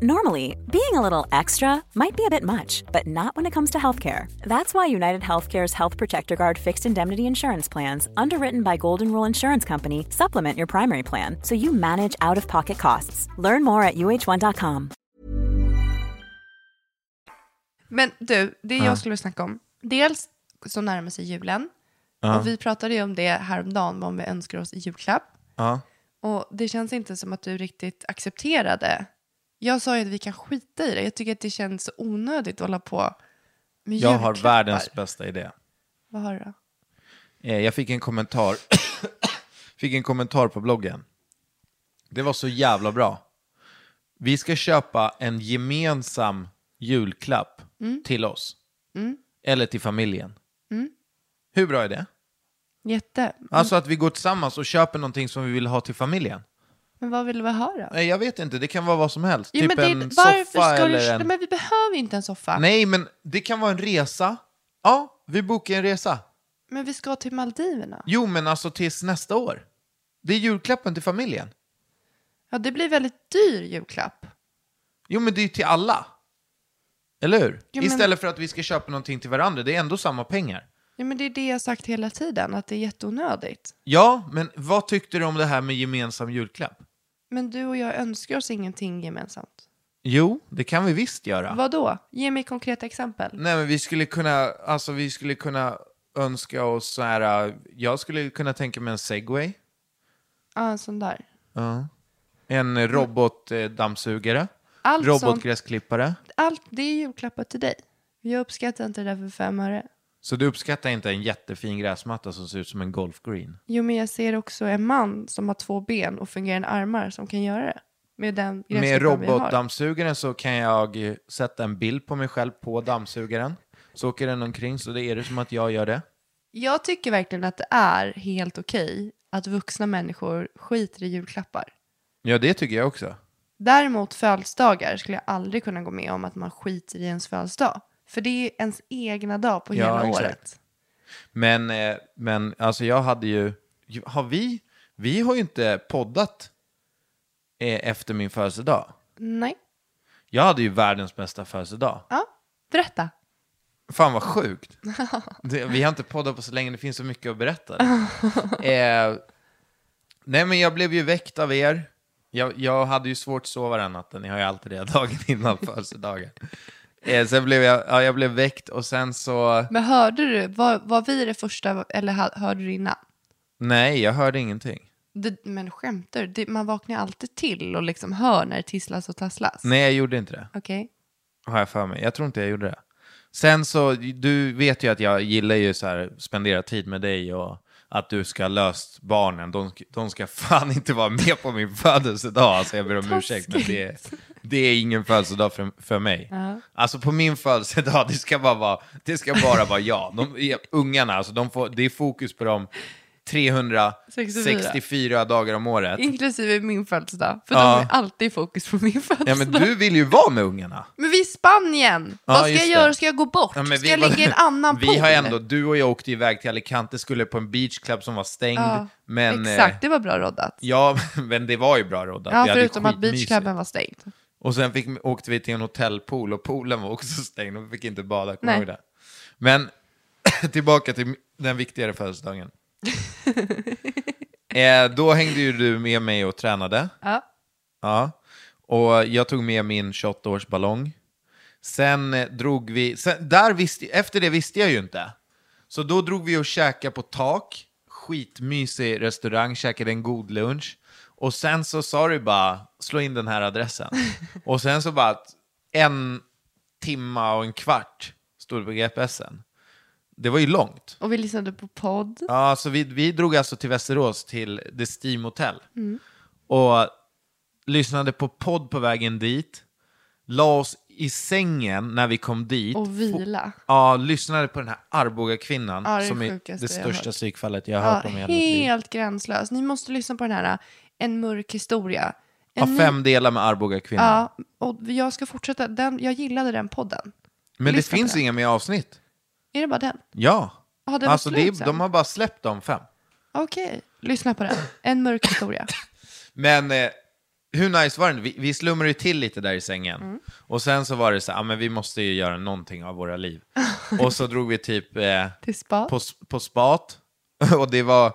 Speaker 3: Normally, being a little extra might be a bit much, but not when it comes to healthcare. That's why United Healthcare's Health Protector Guard fixed indemnity insurance plans, underwritten by Golden Rule Insurance Company, supplement your primary plan so you manage out of pocket costs. Learn more at uh1.com.
Speaker 2: Men du, det jag skulle vilja snacka om. Dels så närmar sig julen. Och vi pratade ju om det häromdagen, vad vi önskar oss i julklapp.
Speaker 1: Ja.
Speaker 2: Och det känns inte som att du riktigt accepterade. Jag sa ju att vi kan skita i det. Jag tycker att det känns så onödigt att hålla på med
Speaker 1: Jag har
Speaker 2: julklappar.
Speaker 1: världens bästa idé.
Speaker 2: Vad har du då?
Speaker 1: Eh, Jag fick en kommentar Fick en kommentar på bloggen. Det var så jävla bra. Vi ska köpa en gemensam julklapp
Speaker 2: Mm.
Speaker 1: till oss. Eller till familjen. Hur bra är det?
Speaker 2: Jätte.
Speaker 1: Alltså att vi går tillsammans och köper någonting som vi vill ha till familjen.
Speaker 2: Men vad vill vi ha då?
Speaker 1: Nej, jag vet inte. Det kan vara vad som helst.
Speaker 2: Jo,
Speaker 1: typ
Speaker 2: men det,
Speaker 1: en
Speaker 2: varför
Speaker 1: soffa
Speaker 2: ska du...
Speaker 1: eller
Speaker 2: Nej,
Speaker 1: en...
Speaker 2: men vi behöver inte en soffa.
Speaker 1: Nej, men det kan vara en resa. Ja, vi bokar en resa.
Speaker 2: Men vi ska till Maldiverna.
Speaker 1: Jo, men alltså tills nästa år. Det är julklappen till familjen.
Speaker 2: Ja, det blir väldigt dyr julklapp.
Speaker 1: Jo, men det är ju till alla. Eller hur?
Speaker 2: Jo, men-
Speaker 1: Istället för att vi ska köpa någonting till varandra. Det är ändå samma pengar.
Speaker 2: Ja, men det är det jag har sagt hela tiden, att det är jätteonödigt.
Speaker 1: Ja, men vad tyckte du om det här med gemensam julklapp?
Speaker 2: Men du och jag önskar oss ingenting gemensamt.
Speaker 1: Jo, det kan vi visst göra.
Speaker 2: Vad då? Ge mig konkreta exempel.
Speaker 1: Nej, men vi skulle kunna, alltså vi skulle kunna önska oss så här, äh, jag skulle kunna tänka mig en segway,
Speaker 2: Ja, en sån där.
Speaker 1: en robotdammsugare,
Speaker 2: Allt sånt,
Speaker 1: robotgräsklippare.
Speaker 2: allt, det är julklappar till dig. Jag uppskattar inte det där för fem öre.
Speaker 1: Så du uppskattar inte en jättefin gräsmatta som ser ut som en golfgreen?
Speaker 2: Jo, men jag ser också en man som har två ben och fungerande armar som kan göra det. Med den
Speaker 1: Med
Speaker 2: gräsklippan vi har.
Speaker 1: robotdammsugaren så kan jag eh, sätta en bild på mig själv på dammsugaren. Så åker den omkring, så det är det som att jag gör det.
Speaker 2: Jag tycker verkligen att det är helt okej att vuxna människor skiter i julklappar.
Speaker 1: Ja, det tycker jag också.
Speaker 2: Däremot födelsedagar skulle jag aldrig kunna gå med om att man skiter i ens födelsedag. För det är ens egna dag på
Speaker 1: Ja,
Speaker 2: hela
Speaker 1: exakt.
Speaker 2: året.
Speaker 1: Men, eh, men alltså jag hade ju, har vi, vi har ju inte poddat eh, efter min födelsedag.
Speaker 2: Nej.
Speaker 1: Jag hade ju världens bästa födelsedag.
Speaker 2: Ja, berätta.
Speaker 1: Fan vad sjukt. Det, vi har inte poddat på så länge, det finns så mycket att berätta. eh, nej men jag blev ju väckt av er. Jag, jag hade ju svårt att sova den natten, jag har ju alltid det dagen innan födelsedagen. Eh, sen blev jag, ja, jag blev väckt och sen så,
Speaker 2: Men hörde du, var, var vi det första eller ha- hörde du innan?
Speaker 1: nej jag hörde ingenting.
Speaker 2: Det, men skämtar du? Det- Man vaknar ju alltid till och liksom hör när det tisslas och tasslas.
Speaker 1: Nej jag gjorde inte det.
Speaker 2: Okej.
Speaker 1: Har jag för mig. Jag tror inte jag gjorde det. Sen så, du vet ju att jag gillar ju så här, spendera tid med dig och att du ska ha löst barnen. De, sk- de ska fan inte vara med på min födelsedag. Alltså jag ber om ursäkt, men det, det är ingen födelsedag för, för mig. Alltså på min födelsedag, det ska bara vara, det ska bara vara jag. De, ungarna, alltså de får, det är fokus på dem 364 dagar om året.
Speaker 2: Inklusive min födelsedag. För
Speaker 1: Ja.
Speaker 2: de är alltid i fokus på min födelsedag.
Speaker 1: Ja, men du vill ju vara med ungarna.
Speaker 2: Men vi är i Spanien!
Speaker 1: Ja,
Speaker 2: Vad ska
Speaker 1: just
Speaker 2: jag
Speaker 1: det.
Speaker 2: göra? Ska jag gå bort?
Speaker 1: Ja, men
Speaker 2: ska
Speaker 1: vi
Speaker 2: jag
Speaker 1: var-
Speaker 2: ligga i en annan
Speaker 1: vi
Speaker 2: pool?
Speaker 1: Har ändå, du och jag åkte iväg till Alicante, skulle på en beachclub som var stängd.
Speaker 2: Ja,
Speaker 1: men,
Speaker 2: Exakt,
Speaker 1: Eh,
Speaker 2: det var bra roddat.
Speaker 1: ja, men det var ju bra roddat.
Speaker 2: Ja,
Speaker 1: Vi hade ju
Speaker 2: förutom att
Speaker 1: skitmysigt.
Speaker 2: beachclubben var stängd.
Speaker 1: Och sen fick, åkte vi till en hotellpool och poolen var också stängd och vi fick inte bada. Kommer
Speaker 2: Nej.
Speaker 1: du ihåg det? Men tillbaka till den viktigare födelsedagen. eh, då hängde ju du med mig och tränade.
Speaker 2: Ja.
Speaker 1: Ja. Och jag tog med min 28-års ballong. Sen eh, drog vi, sen, där visste, efter det visste jag ju inte. Så då drog vi och käkade på tak, skitmysig restaurang, käkade en god lunch. Och sen så sa du bara, slå in den här adressen. och sen så bara, att en timma och en kvart stod det på GPSen. Det var ju långt.
Speaker 2: Och vi lyssnade på podd.
Speaker 1: Ja, så vi, vi drog alltså till Västerås, till The Steam Hotel.
Speaker 2: Mm.
Speaker 1: Och lyssnade på podd på vägen dit. La oss i sängen när vi kom dit.
Speaker 2: Och vila.
Speaker 1: Ja, lyssnade på den här Arboga-kvinnan
Speaker 2: Ja, det är
Speaker 1: som är
Speaker 2: sjukaste
Speaker 1: det
Speaker 2: jag har
Speaker 1: största
Speaker 2: hört.
Speaker 1: psykfallet jag har
Speaker 2: Ja,
Speaker 1: hört om i hela mitt liv.
Speaker 2: helt gränslös. Ni måste lyssna på den här äh, En mörk historia. En
Speaker 1: Ja,
Speaker 2: ny-
Speaker 1: fem delar med Arboga-kvinnan.
Speaker 2: Ja, och jag ska fortsätta. Den, jag gillade den podden.
Speaker 1: Men det
Speaker 2: lyssna på
Speaker 1: finns
Speaker 2: den.
Speaker 1: inga mer avsnitt.
Speaker 2: Är det bara den?
Speaker 1: Ja.
Speaker 2: Ja, det var
Speaker 1: alltså, det,
Speaker 2: slut sen.
Speaker 1: de har bara släppt de fem.
Speaker 2: Okej, lyssna på den. En mörk historia.
Speaker 1: Men eh, hur nice var det? Vi, vi slumrade ju till lite där i sängen.
Speaker 2: Mm.
Speaker 1: Och sen så var det så här, ah, men vi måste ju göra någonting av våra liv. och så drog vi typ eh,
Speaker 2: Till spa.
Speaker 1: på, s- på spat. och det var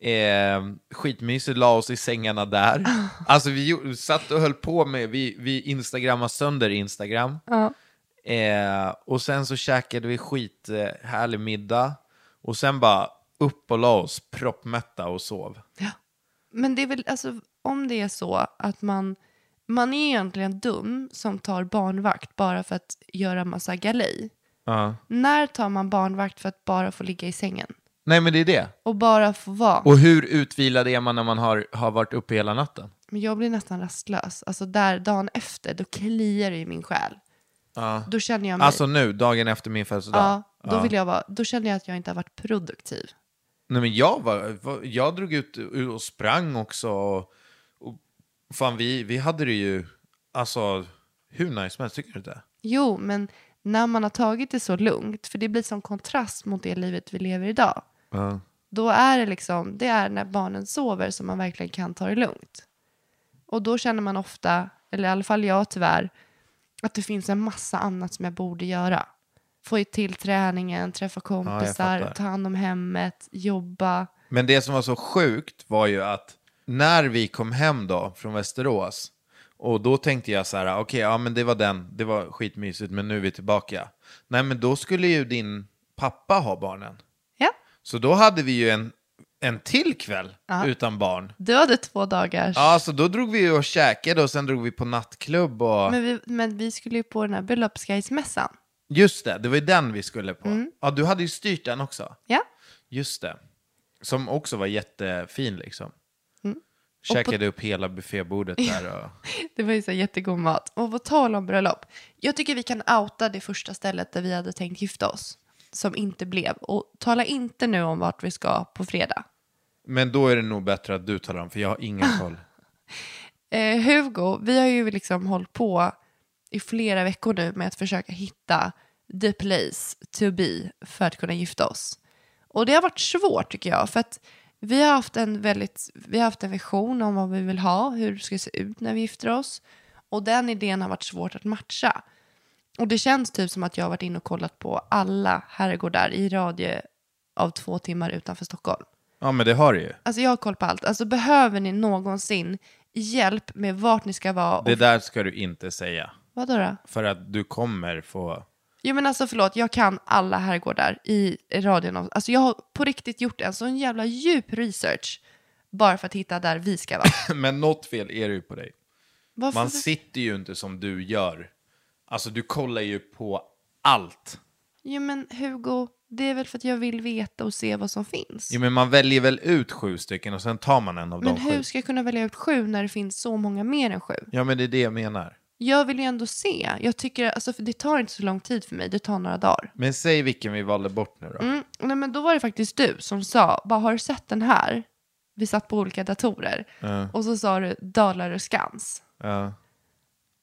Speaker 1: eh, skitmysigt, la oss i sängarna där. alltså vi gjorde, satt och höll på med, vi, vi instagrammade sönder Instagram.
Speaker 2: Ja.
Speaker 1: Eh, och sen så käkade vi skit eh, härlig middag. Och sen bara upp och la oss proppmätta och sov.
Speaker 2: Men det är väl, alltså, om det är så att man, man är egentligen dum som tar barnvakt bara för att göra massa galej.
Speaker 1: Ja.
Speaker 2: När tar man barnvakt för att bara få ligga i sängen?
Speaker 1: Nej men det är det.
Speaker 2: Och bara få vara?
Speaker 1: Och hur utvilad är man när man har, har varit uppe hela natten?
Speaker 2: Men jag blir nästan rastlös. Alltså där dagen efter, då kliar det i min själ. Då känner jag mig...
Speaker 1: Alltså nu, dagen efter min födelsedag.
Speaker 2: ja, då, Vill jag vara, då känner jag att jag inte har varit produktiv.
Speaker 1: Nej, men jag, var, var- jag drog ut och sprang också. Och, och fan, vi, vi hade det ju alltså, hur nice som helst, tycker du inte?
Speaker 2: Jo, men när man har tagit det så lugnt, för det blir som kontrast mot det livet vi lever idag.
Speaker 1: Ja.
Speaker 2: Då är det liksom, det är när barnen sover som man verkligen kan ta det lugnt. Och då känner man ofta, eller i alla fall jag tyvärr, att det finns en massa annat som jag borde göra. Få till träningen, träffa kompisar,
Speaker 1: fattar.
Speaker 2: ta hand om hemmet, jobba.
Speaker 1: Men det som var så sjukt var ju att när vi kom hem då från Västerås och då tänkte jag så här, okej, ja men det var den, det var skitmysigt, men nu är vi tillbaka. Nej, men då skulle ju din pappa ha barnen.
Speaker 2: Ja,
Speaker 1: Så då hade vi ju en, en till kväll utan barn.
Speaker 2: du hade två dagars.
Speaker 1: Ja, så då drog vi ju och käkade och sen drog vi på nattklubb och...
Speaker 2: Men, vi, men vi skulle ju på den här bröllopsguidesmässan.
Speaker 1: Just det, det var ju den vi skulle på.
Speaker 2: Mm.
Speaker 1: Ja, du hade ju styrt den också.
Speaker 2: Ja,
Speaker 1: Just det. Som också var jättefin liksom.
Speaker 2: Mm. Och på-
Speaker 1: Käkade upp hela buffébordet där och...
Speaker 2: det var ju så här jättegod mat. Och på tal om bröllop, jag tycker vi kan outa det första stället där vi hade tänkt gifta oss. Som inte blev. Och tala inte nu om vart vi ska på fredag.
Speaker 1: Men då är det nog bättre att du talar om, för jag har ingen koll.
Speaker 2: Eh, Hugo, vi har ju liksom hållit på i flera veckor nu med att försöka hitta the place to be för att kunna gifta oss. Och det har varit svårt tycker jag, för att vi har haft en väldigt, vi har haft en vision om vad vi vill ha, hur det ska se ut när vi gifter oss. Och den idén har varit svårt att matcha. Och det känns typ som att jag har varit inne och kollat på alla herrgårdar i radie av två timmar utanför Stockholm.
Speaker 1: Ja, men det har du ju.
Speaker 2: Alltså jag har koll på allt. Alltså behöver ni någonsin hjälp med vart ni ska vara? Och...
Speaker 1: Det där ska du inte säga.
Speaker 2: Vadå då?
Speaker 1: För att du kommer få...
Speaker 2: Jo men alltså förlåt, jag kan alla herrgårdar i radion. av- Alltså jag har på riktigt gjort en sån jävla djup research bara för att hitta där vi ska vara.
Speaker 1: Men något fel är det ju på dig.
Speaker 2: Varför?
Speaker 1: Man sitter ju inte som du gör. Alltså, du kollar ju på allt.
Speaker 2: Jo men Hugo, det är väl för att jag vill veta och se vad som finns.
Speaker 1: Jo, men man väljer väl ut sju stycken och sen tar man en av
Speaker 2: men
Speaker 1: de
Speaker 2: hur
Speaker 1: sju.
Speaker 2: ska jag kunna välja ut sju när det finns så många mer än sju?
Speaker 1: Ja, men det är det jag menar.
Speaker 2: Jag vill ju ändå se. Jag tycker, alltså för det tar inte så lång tid för mig, det tar några dagar.
Speaker 1: Men säg vilken vi valde bort nu då.
Speaker 2: Mm, nej, men då var det faktiskt du som sa, bara har du sett den här? Vi satt på olika datorer. Och så sa du Dalarö och Skans.
Speaker 1: Ja.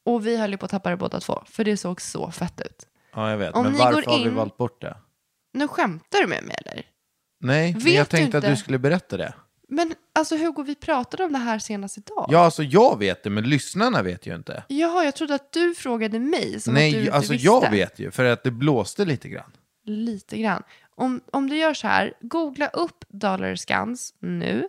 Speaker 2: Och vi höll ju på att tappa det båda två, för det såg så fett ut.
Speaker 1: ja, jag vet.
Speaker 2: Om
Speaker 1: men
Speaker 2: ni
Speaker 1: varför
Speaker 2: går
Speaker 1: har vi
Speaker 2: in-
Speaker 1: valt bort det?
Speaker 2: Nu skämtar du med mig eller?
Speaker 1: Nej, men
Speaker 2: Vet
Speaker 1: jag
Speaker 2: du
Speaker 1: tänkte att
Speaker 2: inte?
Speaker 1: du skulle berätta det.
Speaker 2: Men alltså Hugo, vi pratade om det här senast idag.
Speaker 1: Ja, alltså jag vet det, men lyssnarna vet ju inte.
Speaker 2: Jaha, jag trodde att du frågade mig som att du
Speaker 1: Nej,
Speaker 2: inte
Speaker 1: alltså
Speaker 2: visste.
Speaker 1: jag vet ju, för att det blåste lite grann.
Speaker 2: Lite grann. Om, om du gör så här, googla upp Dalarö och Skans nu,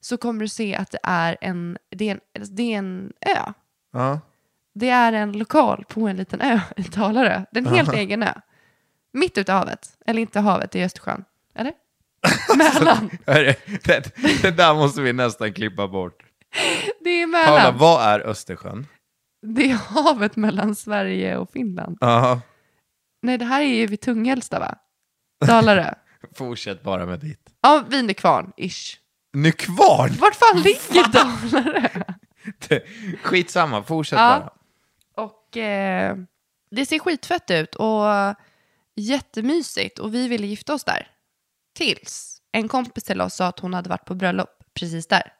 Speaker 2: så kommer du se att det är en, det är en, det är en ö.
Speaker 1: Ja.
Speaker 2: Det är en lokal på en liten ö i Dalarö. Det är en helt egen ö. Mitt ute i havet. Eller inte havet, det är Östersjön. Eller? Mellan.
Speaker 1: Hörru, Det, det där måste vi nästan klippa bort.
Speaker 2: Det är
Speaker 1: Paula,
Speaker 2: mellan.
Speaker 1: vad är Östersjön?
Speaker 2: Det är havet mellan Sverige och Finland.
Speaker 1: Ja,
Speaker 2: Nej, det här är ju vid Tunghällsta va? Dalarö.
Speaker 1: fortsätt bara med ditt.
Speaker 2: Ja, Vinekvarn, ish.
Speaker 1: Nykvarn!
Speaker 2: Vart fan ligger Dalarö?
Speaker 1: Skitsamma, fortsätt
Speaker 2: Ja.
Speaker 1: bara.
Speaker 2: Och eh, Det ser skitfett ut och jättemysigt och vi ville gifta oss där. Tills en kompis till oss sa att hon hade varit på bröllop precis där.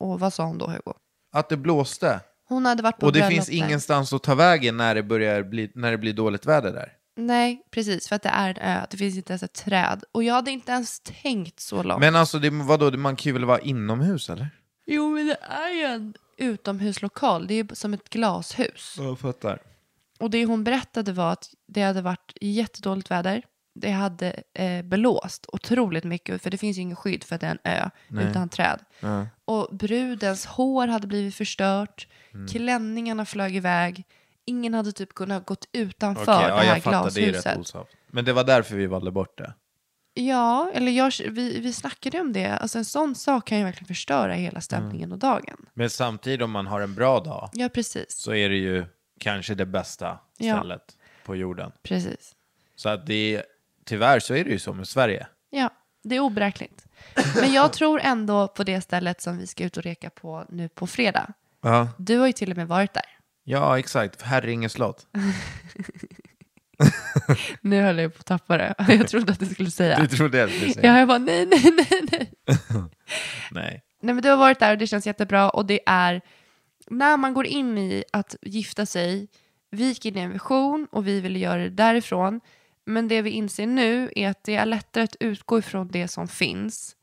Speaker 2: Och vad sa hon då Hugo?
Speaker 1: Att det blåste.
Speaker 2: Hon hade varit på
Speaker 1: Och det
Speaker 2: bröllop
Speaker 1: finns
Speaker 2: där.
Speaker 1: ingenstans att ta vägen när det, börjar bli, när det blir dåligt väder där.
Speaker 2: Nej, precis. För att det är en ö. Det finns inte ens ett träd. Och jag hade inte ens tänkt så långt.
Speaker 1: Men alltså, det, vadå, det- man kan ju väl vara inomhus eller?
Speaker 2: Jo, men det är ju en utomhuslokal. Det är ju som ett glashus.
Speaker 1: Jag fattar.
Speaker 2: Och det hon berättade var att det hade varit jättedåligt väder. Det hade eh, blåst otroligt mycket, för det finns ju ingen skydd för att det är en ö utan träd. Och brudens hår hade blivit förstört,
Speaker 1: Mm.
Speaker 2: klänningarna flög iväg, ingen hade typ kunnat gått utanför
Speaker 1: Okej,
Speaker 2: det
Speaker 1: ja,
Speaker 2: här
Speaker 1: jag fattar, det är
Speaker 2: glashuset.
Speaker 1: rätt osavt. Men det var därför vi valde bort det.
Speaker 2: ja, eller jag, vi, vi snackade om det. Alltså en sån sak kan ju verkligen förstöra hela
Speaker 1: Mm.
Speaker 2: stämningen och dagen.
Speaker 1: Men samtidigt om man har en bra dag
Speaker 2: Ja, precis.
Speaker 1: så är det ju kanske det bästa
Speaker 2: Ja.
Speaker 1: stället på jorden.
Speaker 2: Precis.
Speaker 1: Så att det, tyvärr så är det ju så med Sverige.
Speaker 2: Ja, det är oberäkneligt. Men jag tror ändå på det stället som vi ska ut och reka på nu på fredag.
Speaker 1: Ja,
Speaker 2: Du har ju till och med varit där.
Speaker 1: ja exakt. Herringe slott.
Speaker 2: Nu höll jag på att tappa det. Jag trodde att du skulle säga.
Speaker 1: Du trodde jag skulle säga.
Speaker 2: Ja, jag bara nej, nej, nej, nej.
Speaker 1: Nej.
Speaker 2: Nej, men du har varit där och det känns jättebra. Och det är när man går in i att gifta sig. Vi gick in i en vision och vi ville göra det därifrån. Men det vi inser nu är att det är lättare att utgå ifrån det som finns.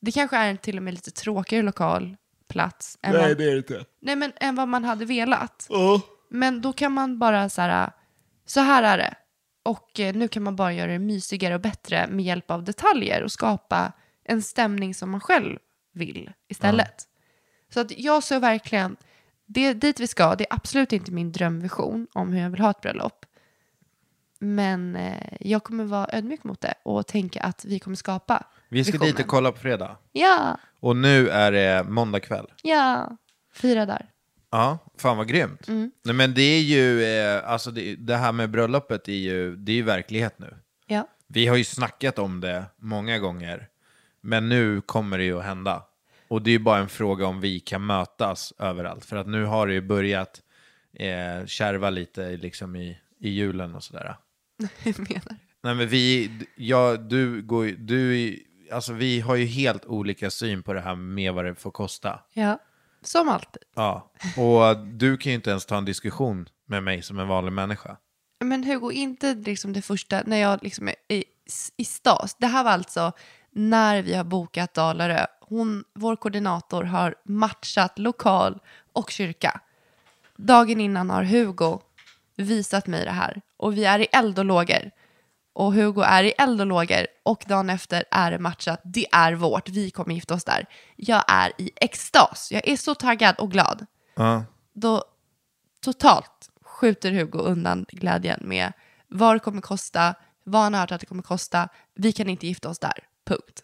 Speaker 2: Det kanske är en till och med lite tråkigare lokal, plats. Än vad,
Speaker 1: är det inte.
Speaker 2: nej, men än vad man hade velat. Men då kan man bara så här, så här är det. Och eh, nu kan man bara göra det mysigare och bättre med hjälp av detaljer och skapa en stämning som man själv vill istället. Så att jag såg verkligen, det, dit vi ska, det är absolut inte min drömvision om hur jag vill ha ett bröllop. Men eh, jag kommer vara ödmjuk mot det och tänka att vi kommer skapa
Speaker 1: Vi ska
Speaker 2: visionen.
Speaker 1: dit och kolla på fredag.
Speaker 2: Ja,
Speaker 1: Och nu är det måndag kväll.
Speaker 2: ja, fyra där.
Speaker 1: Ja, fan vad grymt. Nej, men det är ju, eh, alltså det, det här med bröllopet är ju, det är ju verklighet nu.
Speaker 2: Ja.
Speaker 1: Vi har ju snackat om det många gånger, men nu kommer det ju att hända. Och det är ju bara en fråga om vi kan mötas överallt, för att nu har det ju börjat eh, kärva lite i- liksom i, i julen och sådär.
Speaker 2: Hur menar du?
Speaker 1: Nej men vi, ja, du går ju- du, är- alltså vi har ju helt olika syn på det här med vad det får kosta.
Speaker 2: Ja, som alltid.
Speaker 1: Ja, och du kan ju inte ens ta en diskussion med mig som en vanlig människa.
Speaker 2: Men Hugo, inte liksom det första, när jag liksom är i, i stas. Det här var alltså när vi har bokat Dalarö. Hon, vår koordinator har matchat lokal och kyrka. Dagen innan har Hugo visat mig det här. Och vi är i eld och lågor. Och Hugo är i eld och lågor. Och dagen efter är det matchat. Det är vårt. Vi kommer gifta oss där. Jag är i extas. Jag är så taggad och glad
Speaker 1: Ja.
Speaker 2: då totalt skjuter Hugo undan glädjen med vad det kommer kosta, vad han har hört att det kommer kosta, vi kan inte gifta oss där, punkt.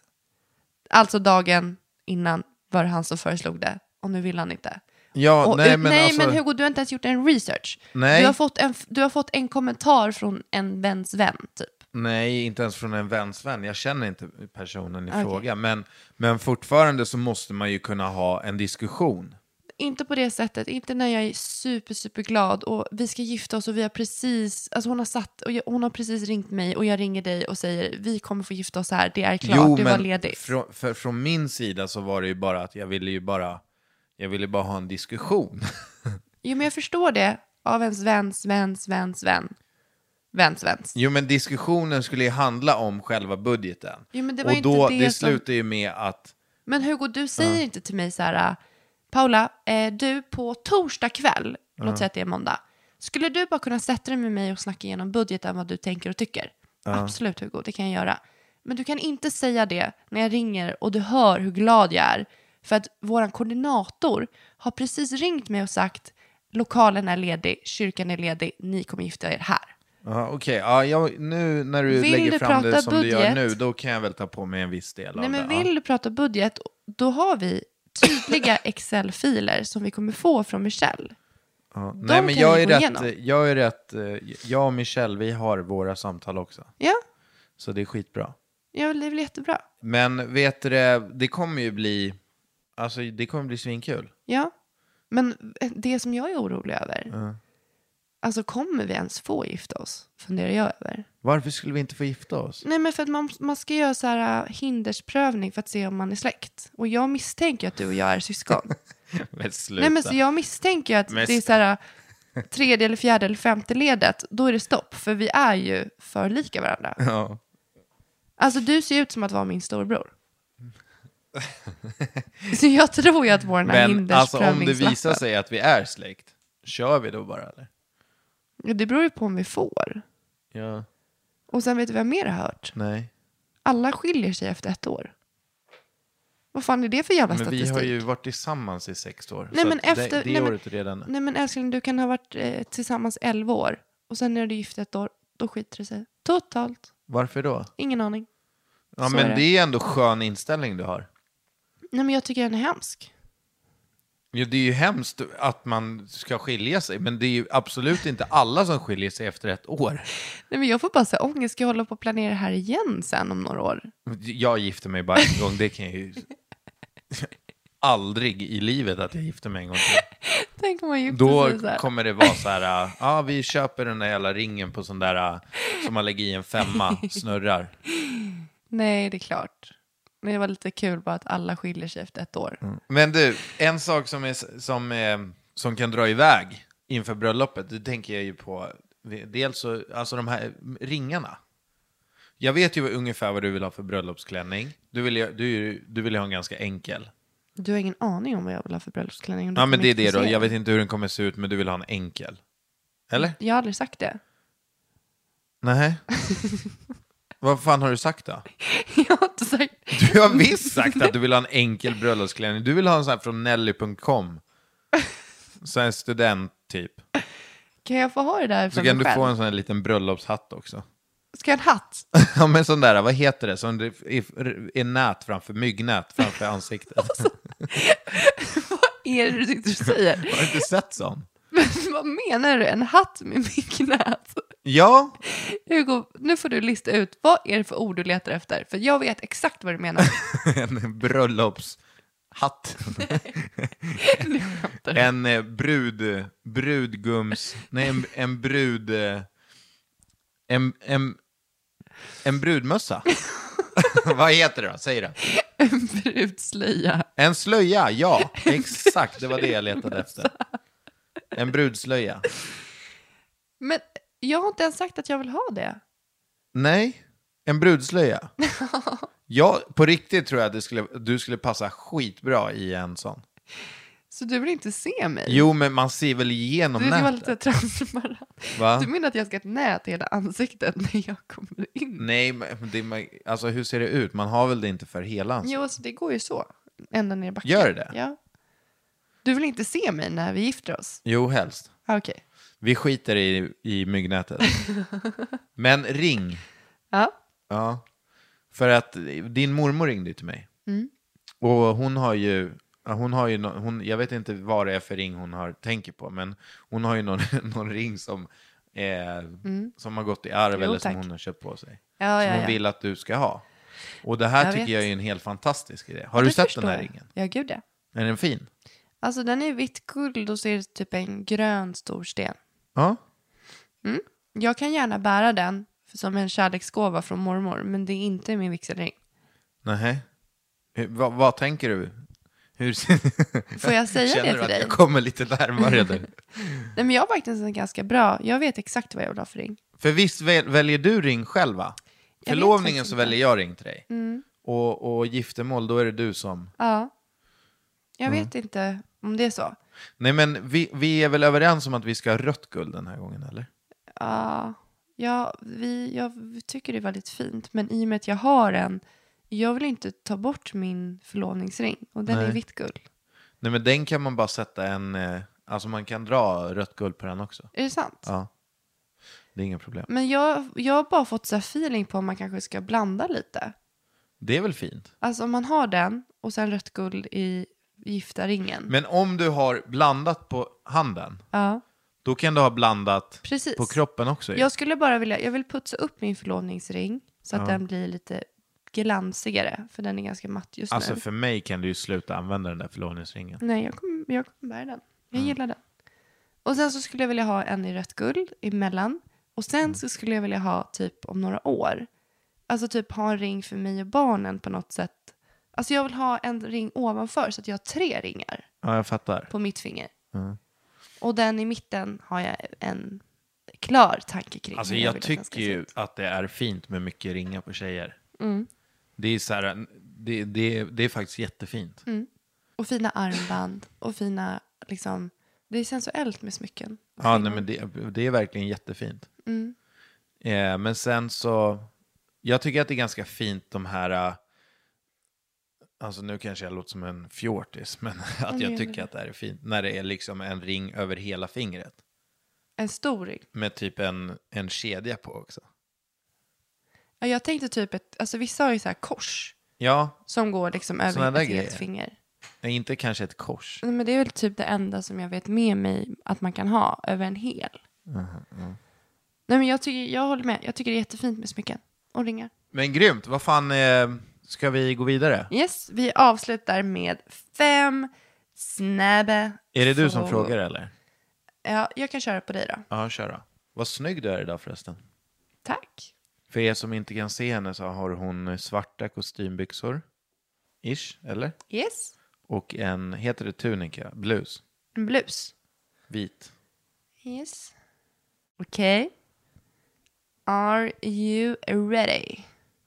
Speaker 2: Alltså dagen innan var det han som föreslog det och nu vill han inte.
Speaker 1: Ja,
Speaker 2: och,
Speaker 1: nej,
Speaker 2: ut-
Speaker 1: men
Speaker 2: nej
Speaker 1: alltså-
Speaker 2: men Hugo, du har inte ens gjort en research.
Speaker 1: Nej.
Speaker 2: Du, har fått en, f- du har fått en kommentar från en väns vän, typ.
Speaker 1: Nej, inte ens från en väns vän. Jag känner inte personen i
Speaker 2: Okej.
Speaker 1: fråga. Men, men fortfarande så måste man ju kunna ha en diskussion.
Speaker 2: Inte på det sättet, inte när jag är super, super glad och vi ska gifta oss och vi har precis, alltså hon har satt, och jag, hon har precis ringt mig och jag ringer dig och säger vi kommer få gifta oss här, det är klart, du var ledig.
Speaker 1: Från, för, från min sida så var det ju bara att jag ville ju bara, jag ville bara ha en diskussion.
Speaker 2: Jo men jag förstår det av ens väns, väns, väns, vän. Väns, väns.
Speaker 1: Jo, men diskussionen skulle ju handla om själva budgeten.
Speaker 2: Jo, men det var
Speaker 1: och
Speaker 2: ju inte
Speaker 1: då,
Speaker 2: det
Speaker 1: det
Speaker 2: som-
Speaker 1: slutar ju med att,
Speaker 2: Men Hugo, du säger inte till mig så här, Paula, eh, du på torsdag kväll, låt säga att det är måndag, skulle du bara kunna sätta dig med mig och snacka igenom budgeten, vad du tänker och tycker? Absolut Hugo, det kan jag göra. Men du kan inte säga det när jag ringer och du hör hur glad jag är, för att vår koordinator har precis ringt mig och sagt lokalen är ledig, kyrkan är ledig, ni kommer gifta er här.
Speaker 1: ja okej, ja, jag- nu när du
Speaker 2: Vill
Speaker 1: lägger
Speaker 2: du
Speaker 1: fram
Speaker 2: prata
Speaker 1: det som du gör
Speaker 2: budget?
Speaker 1: nu, då kan jag väl ta på mig en viss del
Speaker 2: Nej,
Speaker 1: av
Speaker 2: men
Speaker 1: det. ja.
Speaker 2: vill du prata budget, då har vi tydliga Excel-filer som vi kommer få från Michelle.
Speaker 1: Ja,
Speaker 2: De
Speaker 1: Nej, men
Speaker 2: kan
Speaker 1: jag
Speaker 2: vi
Speaker 1: är,
Speaker 2: gå
Speaker 1: rätt,
Speaker 2: igenom.
Speaker 1: jag är rätt, eh, jag och Michelle, vi har våra samtal också.
Speaker 2: Ja,
Speaker 1: Så det är skitbra.
Speaker 2: ja det är väl jättebra.
Speaker 1: Men vet du det, det kommer ju bli, alltså det kommer bli svinkul.
Speaker 2: eh, Ja. Men det som jag är orolig över alltså kommer vi ens få gifta oss? Funderar jag över.
Speaker 1: Varför skulle vi inte få gifta oss?
Speaker 2: Nej, men för att man, man ska göra så här äh, hindersprövning för att se om man är släkt. Och jag misstänker att du och jag är syskon.
Speaker 1: Men sluta.
Speaker 2: Nej, men så jag misstänker att
Speaker 1: Men
Speaker 2: det är
Speaker 1: st-
Speaker 2: så här äh, tredje eller fjärde eller femte ledet. Då är det stopp, för vi är ju för lika varandra.
Speaker 1: Ja.
Speaker 2: Alltså du ser ut som att vara min storbror. Så jag tror ju att vår den här
Speaker 1: Men alltså om det
Speaker 2: hindersprövningslappen-
Speaker 1: visar sig att vi är släkt, kör vi då bara eller?
Speaker 2: Ja, Det beror ju på om vi får.
Speaker 1: Ja.
Speaker 2: Och sen vet du vad jag mer har hört?
Speaker 1: Nej.
Speaker 2: Alla skiljer sig efter ett år. Vad fan är det för jävla
Speaker 1: Men vi
Speaker 2: statistik?
Speaker 1: har ju varit tillsammans i sex år.
Speaker 2: Nej,
Speaker 1: så
Speaker 2: men
Speaker 1: att det-
Speaker 2: efter-
Speaker 1: det
Speaker 2: nej, men-
Speaker 1: året är redan...
Speaker 2: Nej men älskling, du kan ha varit eh, tillsammans 11 år och sen är du gift ett år, då skiter det sig. Totalt.
Speaker 1: Varför då?
Speaker 2: Ingen aning.
Speaker 1: Ja,
Speaker 2: Så är
Speaker 1: men
Speaker 2: det.
Speaker 1: det är ändå skön inställning du har.
Speaker 2: Nej men jag tycker den är hemsk.
Speaker 1: Jo, det är ju hemskt att man ska skilja sig, men det är ju absolut inte alla som skiljer sig efter ett år.
Speaker 2: Nej men jag får bara säga ångest, ska jag hålla på och planera det här igen sen om några år?
Speaker 1: Jag gifter mig bara en gång, det kan jag ju... Aldrig i livet att jag gifter mig en gång till.
Speaker 2: Tänk om man gifter
Speaker 1: Då
Speaker 2: sig så här.
Speaker 1: kommer det vara så här, äh, ja vi köper den där jävla ringen på sån där äh, som man lägger i en femma, snurrar.
Speaker 2: Nej, det är klart. Men det var lite kul bara att alla skiljer sig efter ett år.
Speaker 1: Men du, en sak som, är, som, eh, som kan dra iväg inför bröllopet, det tänker jag ju på. Dels så, alltså de här ringarna. Jag vet ju ungefär vad du vill ha för bröllopsklänning. Du vill ju, du, är ju- du vill ju ha en ganska enkel.
Speaker 2: Du har ingen aning om vad jag vill ha för bröllopsklänning. och du
Speaker 1: Ja men
Speaker 2: kommer
Speaker 1: det är
Speaker 2: inte
Speaker 1: det
Speaker 2: få
Speaker 1: då,
Speaker 2: se
Speaker 1: jag
Speaker 2: den.
Speaker 1: vet inte hur den kommer se ut men du vill ha en enkel. Eller?
Speaker 2: Jag har aldrig sagt det.
Speaker 1: Nej. Vad fan har du sagt då?
Speaker 2: Jag har inte sagt...
Speaker 1: Du har visst sagt att du vill ha en enkel bröllopsklänning. Du vill ha en sån här från Nelly.com. Så en student typ.
Speaker 2: Kan jag få ha det där för
Speaker 1: Så
Speaker 2: mig
Speaker 1: kan du
Speaker 2: själv?
Speaker 1: få en sån här liten bröllopshatt också.
Speaker 2: Ska jag ha en hatt?
Speaker 1: Ja men sån där, vad heter det? Som det är- är nät framför, myggnät framför ansiktet.
Speaker 2: Är det du sitter och säger?
Speaker 1: Har du inte sett sån?
Speaker 2: Men vad menar du? En hatt med myggnät?
Speaker 1: Ja,
Speaker 2: Hugo, nu får du lista ut vad är det för ord du letar efter. För jag vet exakt vad du menar.
Speaker 1: en bröllopshatt.
Speaker 2: Nu skämtar du.
Speaker 1: En eh, brud, brudgums, nej en, en brud, eh, en, en, en brudmössa. vad heter det då? Säg det.
Speaker 2: En brudslöja.
Speaker 1: En slöja, ja. Exakt, det var det jag letade efter. En brudslöja.
Speaker 2: Men jag har inte ens sagt att jag vill ha det.
Speaker 1: Nej, en brudslöja. Ja, på riktigt tror jag att det skulle, du skulle passa skitbra i en sån.
Speaker 2: Så du vill inte se mig?
Speaker 1: Jo, men man ser väl igenom
Speaker 2: Du ska vara lite
Speaker 1: nätet?
Speaker 2: transparent.
Speaker 1: Va?
Speaker 2: Du menar att jag ska ha ett nät i hela ansiktet när jag kommer in?
Speaker 1: Nej, men det, man- alltså hur ser det ut? Man har väl det inte för hela ansiktet?
Speaker 2: Jo, alltså, det går ju så. Ända ner i backen.
Speaker 1: Gör det?
Speaker 2: Ja. Du vill inte se mig när vi gifter oss?
Speaker 1: Jo, helst.
Speaker 2: Ah, Okej.
Speaker 1: Vi skiter i, i myggnätet. Men ring.
Speaker 2: Ja.
Speaker 1: Ja. För att din mormor ringde ju till mig.
Speaker 2: Mm.
Speaker 1: Och hon har ju, ja, hon har ju nå- hon, jag vet inte vad det är för ring hon har, tänker på, men hon har ju någon, någon ring som, eh, som har gått i arv
Speaker 2: Mm. Jo,
Speaker 1: eller som
Speaker 2: tack.
Speaker 1: hon har köpt på sig.
Speaker 2: Ja,
Speaker 1: som
Speaker 2: ja,
Speaker 1: hon
Speaker 2: ja.
Speaker 1: vill att du ska ha. Och det här
Speaker 2: Jag
Speaker 1: tycker
Speaker 2: vet.
Speaker 1: jag är en helt fantastisk idé. Har
Speaker 2: Det
Speaker 1: du sett
Speaker 2: förstår
Speaker 1: den här
Speaker 2: jag.
Speaker 1: ringen?
Speaker 2: Ja, gud ja.
Speaker 1: Är den fin?
Speaker 2: Alltså den är vitt guld och så är det typ en grön stor sten.
Speaker 1: Ja.
Speaker 2: Jag kan gärna bära den för- som en kärleksgåva från mormor, men det är inte min vigselring.
Speaker 1: Nej. Vad, vad tänker du? Hur ser...
Speaker 2: Får jag säga
Speaker 1: Känner
Speaker 2: det
Speaker 1: du
Speaker 2: till
Speaker 1: att
Speaker 2: dig?
Speaker 1: jag kommer lite närmare nu?
Speaker 2: Nej, men jag har faktiskt en ganska bra, jag vet exakt vad jag vill ha för ring.
Speaker 1: För visst väl, väljer du ring själv va?
Speaker 2: Jag vet
Speaker 1: Förlovningen
Speaker 2: faktiskt
Speaker 1: så
Speaker 2: inte. Mm.
Speaker 1: väljer jag ring till dig. Och, och giftermål, då är det du som...
Speaker 2: Ja. Jag
Speaker 1: Mm.
Speaker 2: vet inte om det är så.
Speaker 1: Nej men vi, vi är väl överens om att vi ska ha rött guld den här gången eller?
Speaker 2: Ja, ja vi, jag tycker det är väldigt fint, men i och med att jag har en, jag vill inte ta bort min förlovningsring och den är
Speaker 1: Nej.
Speaker 2: vitt guld.
Speaker 1: Nej men den kan man bara sätta en... eh, Alltså man kan dra rött guld på den också.
Speaker 2: Är det sant?
Speaker 1: Ja. Det är inga problem.
Speaker 2: Men jag, jag har bara fått så här feeling på om man kanske ska blanda lite.
Speaker 1: Det är väl fint?
Speaker 2: Alltså om man har den och sen rött guld i gifta ringen.
Speaker 1: Men om du har blandat på handen,
Speaker 2: ja,
Speaker 1: då kan du ha blandat
Speaker 2: precis.
Speaker 1: på kroppen också. ju.
Speaker 2: Jag skulle bara vilja, jag vill putsa upp min förlovningsring så att den blir lite glansigare för den är ganska matt just
Speaker 1: Alltså
Speaker 2: nu.
Speaker 1: för mig kan du ju sluta använda den där förlovningsringen. Mm.
Speaker 2: Nej, jag kommer, jag kommer bära den. Jag gillar den. Och sen så skulle jag vilja ha en i rött guld emellan. Och
Speaker 1: Mm.
Speaker 2: sen så skulle jag vilja ha typ om några år. Alltså typ ha en ring för mig och barnen på något sätt. Alltså jag vill ha en ring ovanför så att jag har tre ringar
Speaker 1: Ja, jag fattar.
Speaker 2: på mitt finger.
Speaker 1: Mm.
Speaker 2: Och den i mitten har jag en klar tanke kring.
Speaker 1: Alltså
Speaker 2: hur
Speaker 1: jag
Speaker 2: vill att den ska
Speaker 1: tycker
Speaker 2: se
Speaker 1: ju
Speaker 2: ut.
Speaker 1: att det är fint med mycket ringar på tjejer. Det är så här, det, det, det är faktiskt jättefint.
Speaker 2: Och fina armband och fina liksom. Det är sensuellt med smycken.
Speaker 1: Ja, nej, men det, det är verkligen jättefint. Eh, men sen så, jag tycker att det är ganska fint de här, eh, alltså nu kanske jag låter som en fjortis, men att jag tycker att det här är fint när det är liksom en ring över hela fingret
Speaker 2: En stor ring.
Speaker 1: med typ en, en kedja på också.
Speaker 2: Ja, jag tänkte typ ett, alltså vissa har ju så här kors
Speaker 1: Ja,
Speaker 2: som går liksom
Speaker 1: Såna
Speaker 2: över
Speaker 1: där
Speaker 2: ett
Speaker 1: grejer.
Speaker 2: helt finger.
Speaker 1: inte kanske ett kors.
Speaker 2: Nej, Men det är väl typ det enda som jag vet med mig att man kan ha över en hel.
Speaker 1: Mm-hmm, mm.
Speaker 2: Nej, men jag, tycker, jag håller med. Jag tycker det är jättefint med smycken och ringar.
Speaker 1: Men grymt, vad fan, eh, ska vi gå vidare?
Speaker 2: Yes, vi avslutar med fem snabba
Speaker 1: Är det du som
Speaker 2: frågor.
Speaker 1: frågar eller?
Speaker 2: Ja, jag kan köra på dig då.
Speaker 1: Ja, kör då. Vad snygg du är idag förresten.
Speaker 2: Tack.
Speaker 1: För er som inte kan se henne så har hon svarta kostymbyxor. Ish, eller?
Speaker 2: Yes.
Speaker 1: Och en, heter det tunika? Blus?
Speaker 2: En blus.
Speaker 1: Vit?
Speaker 2: Yes. Okej. Are you ready?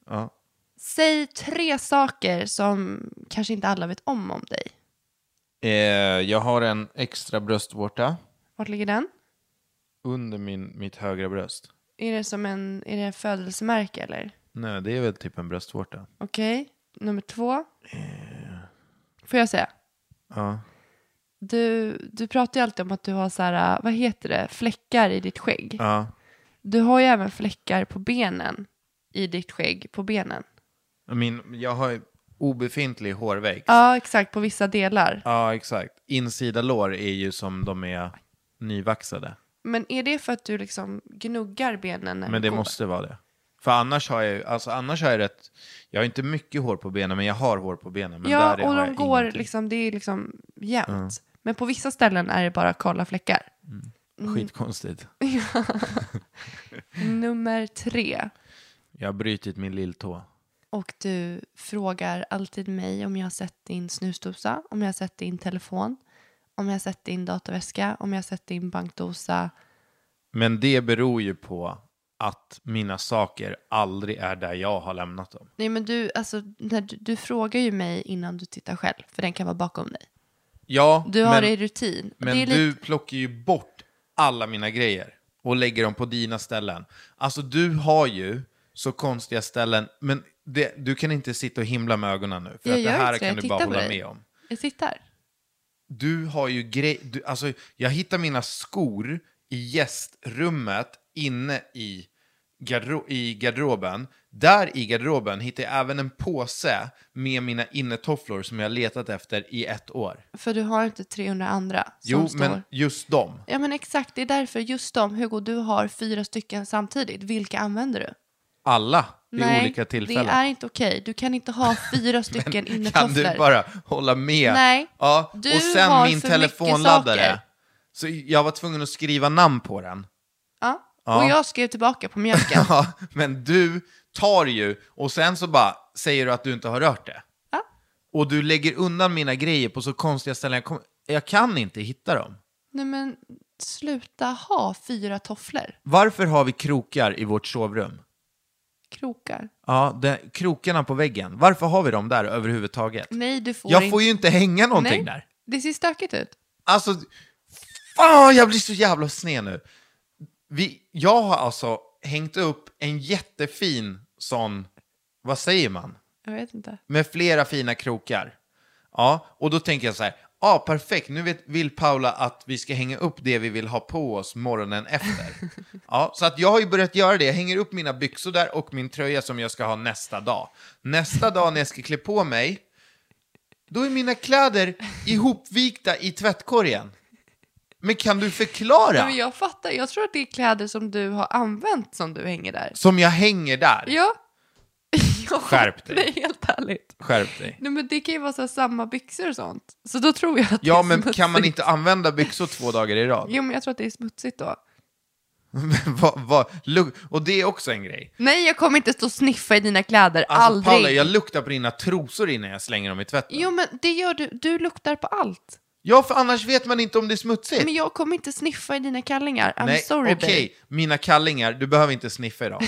Speaker 1: Ja.
Speaker 2: Säg tre saker som kanske inte alla vet om om dig.
Speaker 1: Eh, jag har en extra bröstvårta
Speaker 2: Vart ligger den?
Speaker 1: under min, mitt högra bröst.
Speaker 2: Är det som en, är det en födelsemärke eller?
Speaker 1: Nej, det är väl typ en bröstvårta.
Speaker 2: Okej, nummer två. Får jag säga?
Speaker 1: Eh. Ja.
Speaker 2: Du, du pratar ju alltid om att du har så här, äh, vad heter det, fläckar i ditt skägg.
Speaker 1: ja.
Speaker 2: Du har ju även fläckar på benen, i ditt skägg på benen.
Speaker 1: Min, jag har ju obefintlig hårväxt.
Speaker 2: Ja, exakt, på vissa delar.
Speaker 1: Ja, exakt. Insida lår är ju som de är nyvaxade.
Speaker 2: Men är det för att du liksom gnuggar benen? när
Speaker 1: Men
Speaker 2: du
Speaker 1: det
Speaker 2: går?
Speaker 1: måste vara det. För annars har jag ju, alltså annars har jag rätt, jag har inte mycket hår på benen, men jag har hår på benen. Men
Speaker 2: Ja,
Speaker 1: där har
Speaker 2: och de
Speaker 1: jag
Speaker 2: går
Speaker 1: ingenting.
Speaker 2: liksom, det är liksom jämnt. Men på vissa ställen är det bara kala fläckar. mm.
Speaker 1: Skitkonstigt. Mm.
Speaker 2: Nummer tre.
Speaker 1: Jag har brutit min lilltå.
Speaker 2: Och du frågar alltid mig om jag har sett din snusdosa, om jag har sett din telefon, om jag har sett din dataväska, om jag har sett din bankdosa.
Speaker 1: Men det beror ju på att mina saker aldrig är där jag har lämnat dem.
Speaker 2: Nej men du, alltså, när du, du frågar ju mig innan du tittar själv, för den kan vara bakom dig.
Speaker 1: Ja,
Speaker 2: Du har
Speaker 1: men,
Speaker 2: det i rutin.
Speaker 1: men
Speaker 2: det är
Speaker 1: du
Speaker 2: lite,
Speaker 1: plockar ju bort alla mina grejer och lägger dem på dina ställen. Alltså du har ju så konstiga ställen, men det, du kan inte sitta och himla med ögonen nu. För
Speaker 2: Jag
Speaker 1: att det
Speaker 2: gör
Speaker 1: här
Speaker 2: inte
Speaker 1: kan
Speaker 2: det, jag
Speaker 1: du bara
Speaker 2: tittar på
Speaker 1: hålla
Speaker 2: dig.
Speaker 1: med om.
Speaker 2: jag tittar.
Speaker 1: du har ju grej... Du, alltså, jag hittar mina skor i gästrummet inne i, garderob i garderoben. Där i garderoben hittar jag även en påse med mina innetofflor som jag har letat efter i ett år.
Speaker 2: För du har inte 300 andra som
Speaker 1: Jo,
Speaker 2: står.
Speaker 1: men just dem.
Speaker 2: Ja men exakt, det är därför just de, Hugo, du har fyra stycken samtidigt. Vilka använder du?
Speaker 1: Alla vid
Speaker 2: Nej,
Speaker 1: olika tillfällen.
Speaker 2: det är inte okej. Du kan inte ha fyra stycken
Speaker 1: Kan
Speaker 2: innetofflor.
Speaker 1: du bara hålla med?
Speaker 2: Nej,
Speaker 1: Ja,
Speaker 2: du
Speaker 1: och sen
Speaker 2: har
Speaker 1: min
Speaker 2: för mycket
Speaker 1: telefonladdare.
Speaker 2: saker.
Speaker 1: Så jag var tvungen att skriva namn på den.
Speaker 2: Ja.
Speaker 1: Ja.
Speaker 2: Och jag skrev tillbaka på mjölken.
Speaker 1: Ja, men du tar ju och sen så bara säger du att du inte har rört det.
Speaker 2: Ja.
Speaker 1: Och du lägger undan mina grejer på så konstiga ställen. Jag, kom, jag kan inte hitta dem.
Speaker 2: Nej men sluta ha fyra tofflor.
Speaker 1: Varför har vi krokar i vårt sovrum?
Speaker 2: Krokar.
Speaker 1: Ja, det, krokarna på väggen. Varför har vi dem där överhuvudtaget?
Speaker 2: Nej du får
Speaker 1: jag
Speaker 2: inte.
Speaker 1: får ju inte hänga någonting
Speaker 2: Nej,
Speaker 1: där.
Speaker 2: Det ser stökigt ut.
Speaker 1: Alltså, fan jag blir så jävla sned nu. Vi, jag har alltså hängt upp en jättefin sån, vad säger man?
Speaker 2: Jag vet inte.
Speaker 1: med flera fina krokar. Ja, och då tänker jag så här, ja ah, perfekt, nu vet, vill Paula att vi ska hänga upp det vi vill ha på oss morgonen efter. ja, så att jag har ju börjat göra det, jag hänger upp mina byxor där och min tröja som jag ska ha nästa dag. Nästa dag när jag ska klä på mig, då är mina kläder ihopvikta i tvättkorgen. Men kan du förklara?
Speaker 2: Nej, men jag fattar. Jag tror att det är kläder som du har använt som du hänger där.
Speaker 1: Som jag hänger där?
Speaker 2: Ja. jag
Speaker 1: Skärp
Speaker 2: fattar
Speaker 1: dig.
Speaker 2: det, helt ärligt.
Speaker 1: Skärp dig.
Speaker 2: Nej, men det kan ju vara så här, samma byxor och sånt. Så då tror jag att det
Speaker 1: Ja,
Speaker 2: är
Speaker 1: men
Speaker 2: smutsigt.
Speaker 1: kan man inte använda byxor två dagar i rad?
Speaker 2: Jo, men jag tror att det är smutsigt då.
Speaker 1: vad, vad, luk- och det är också en grej.
Speaker 2: Nej, jag kommer inte stå och sniffa i dina kläder.
Speaker 1: Alltså,
Speaker 2: Aldrig.
Speaker 1: Palle, jag luktar på dina trosor innan jag slänger dem i tvätten.
Speaker 2: Jo, men det gör du. Du luktar på allt.
Speaker 1: Ja, för annars vet man inte om det är smutsigt.
Speaker 2: Men jag kommer inte sniffa i dina kallingar. I'm
Speaker 1: Nej,
Speaker 2: sorry,
Speaker 1: okej,
Speaker 2: babe.
Speaker 1: mina kallingar, du behöver inte sniffa idag.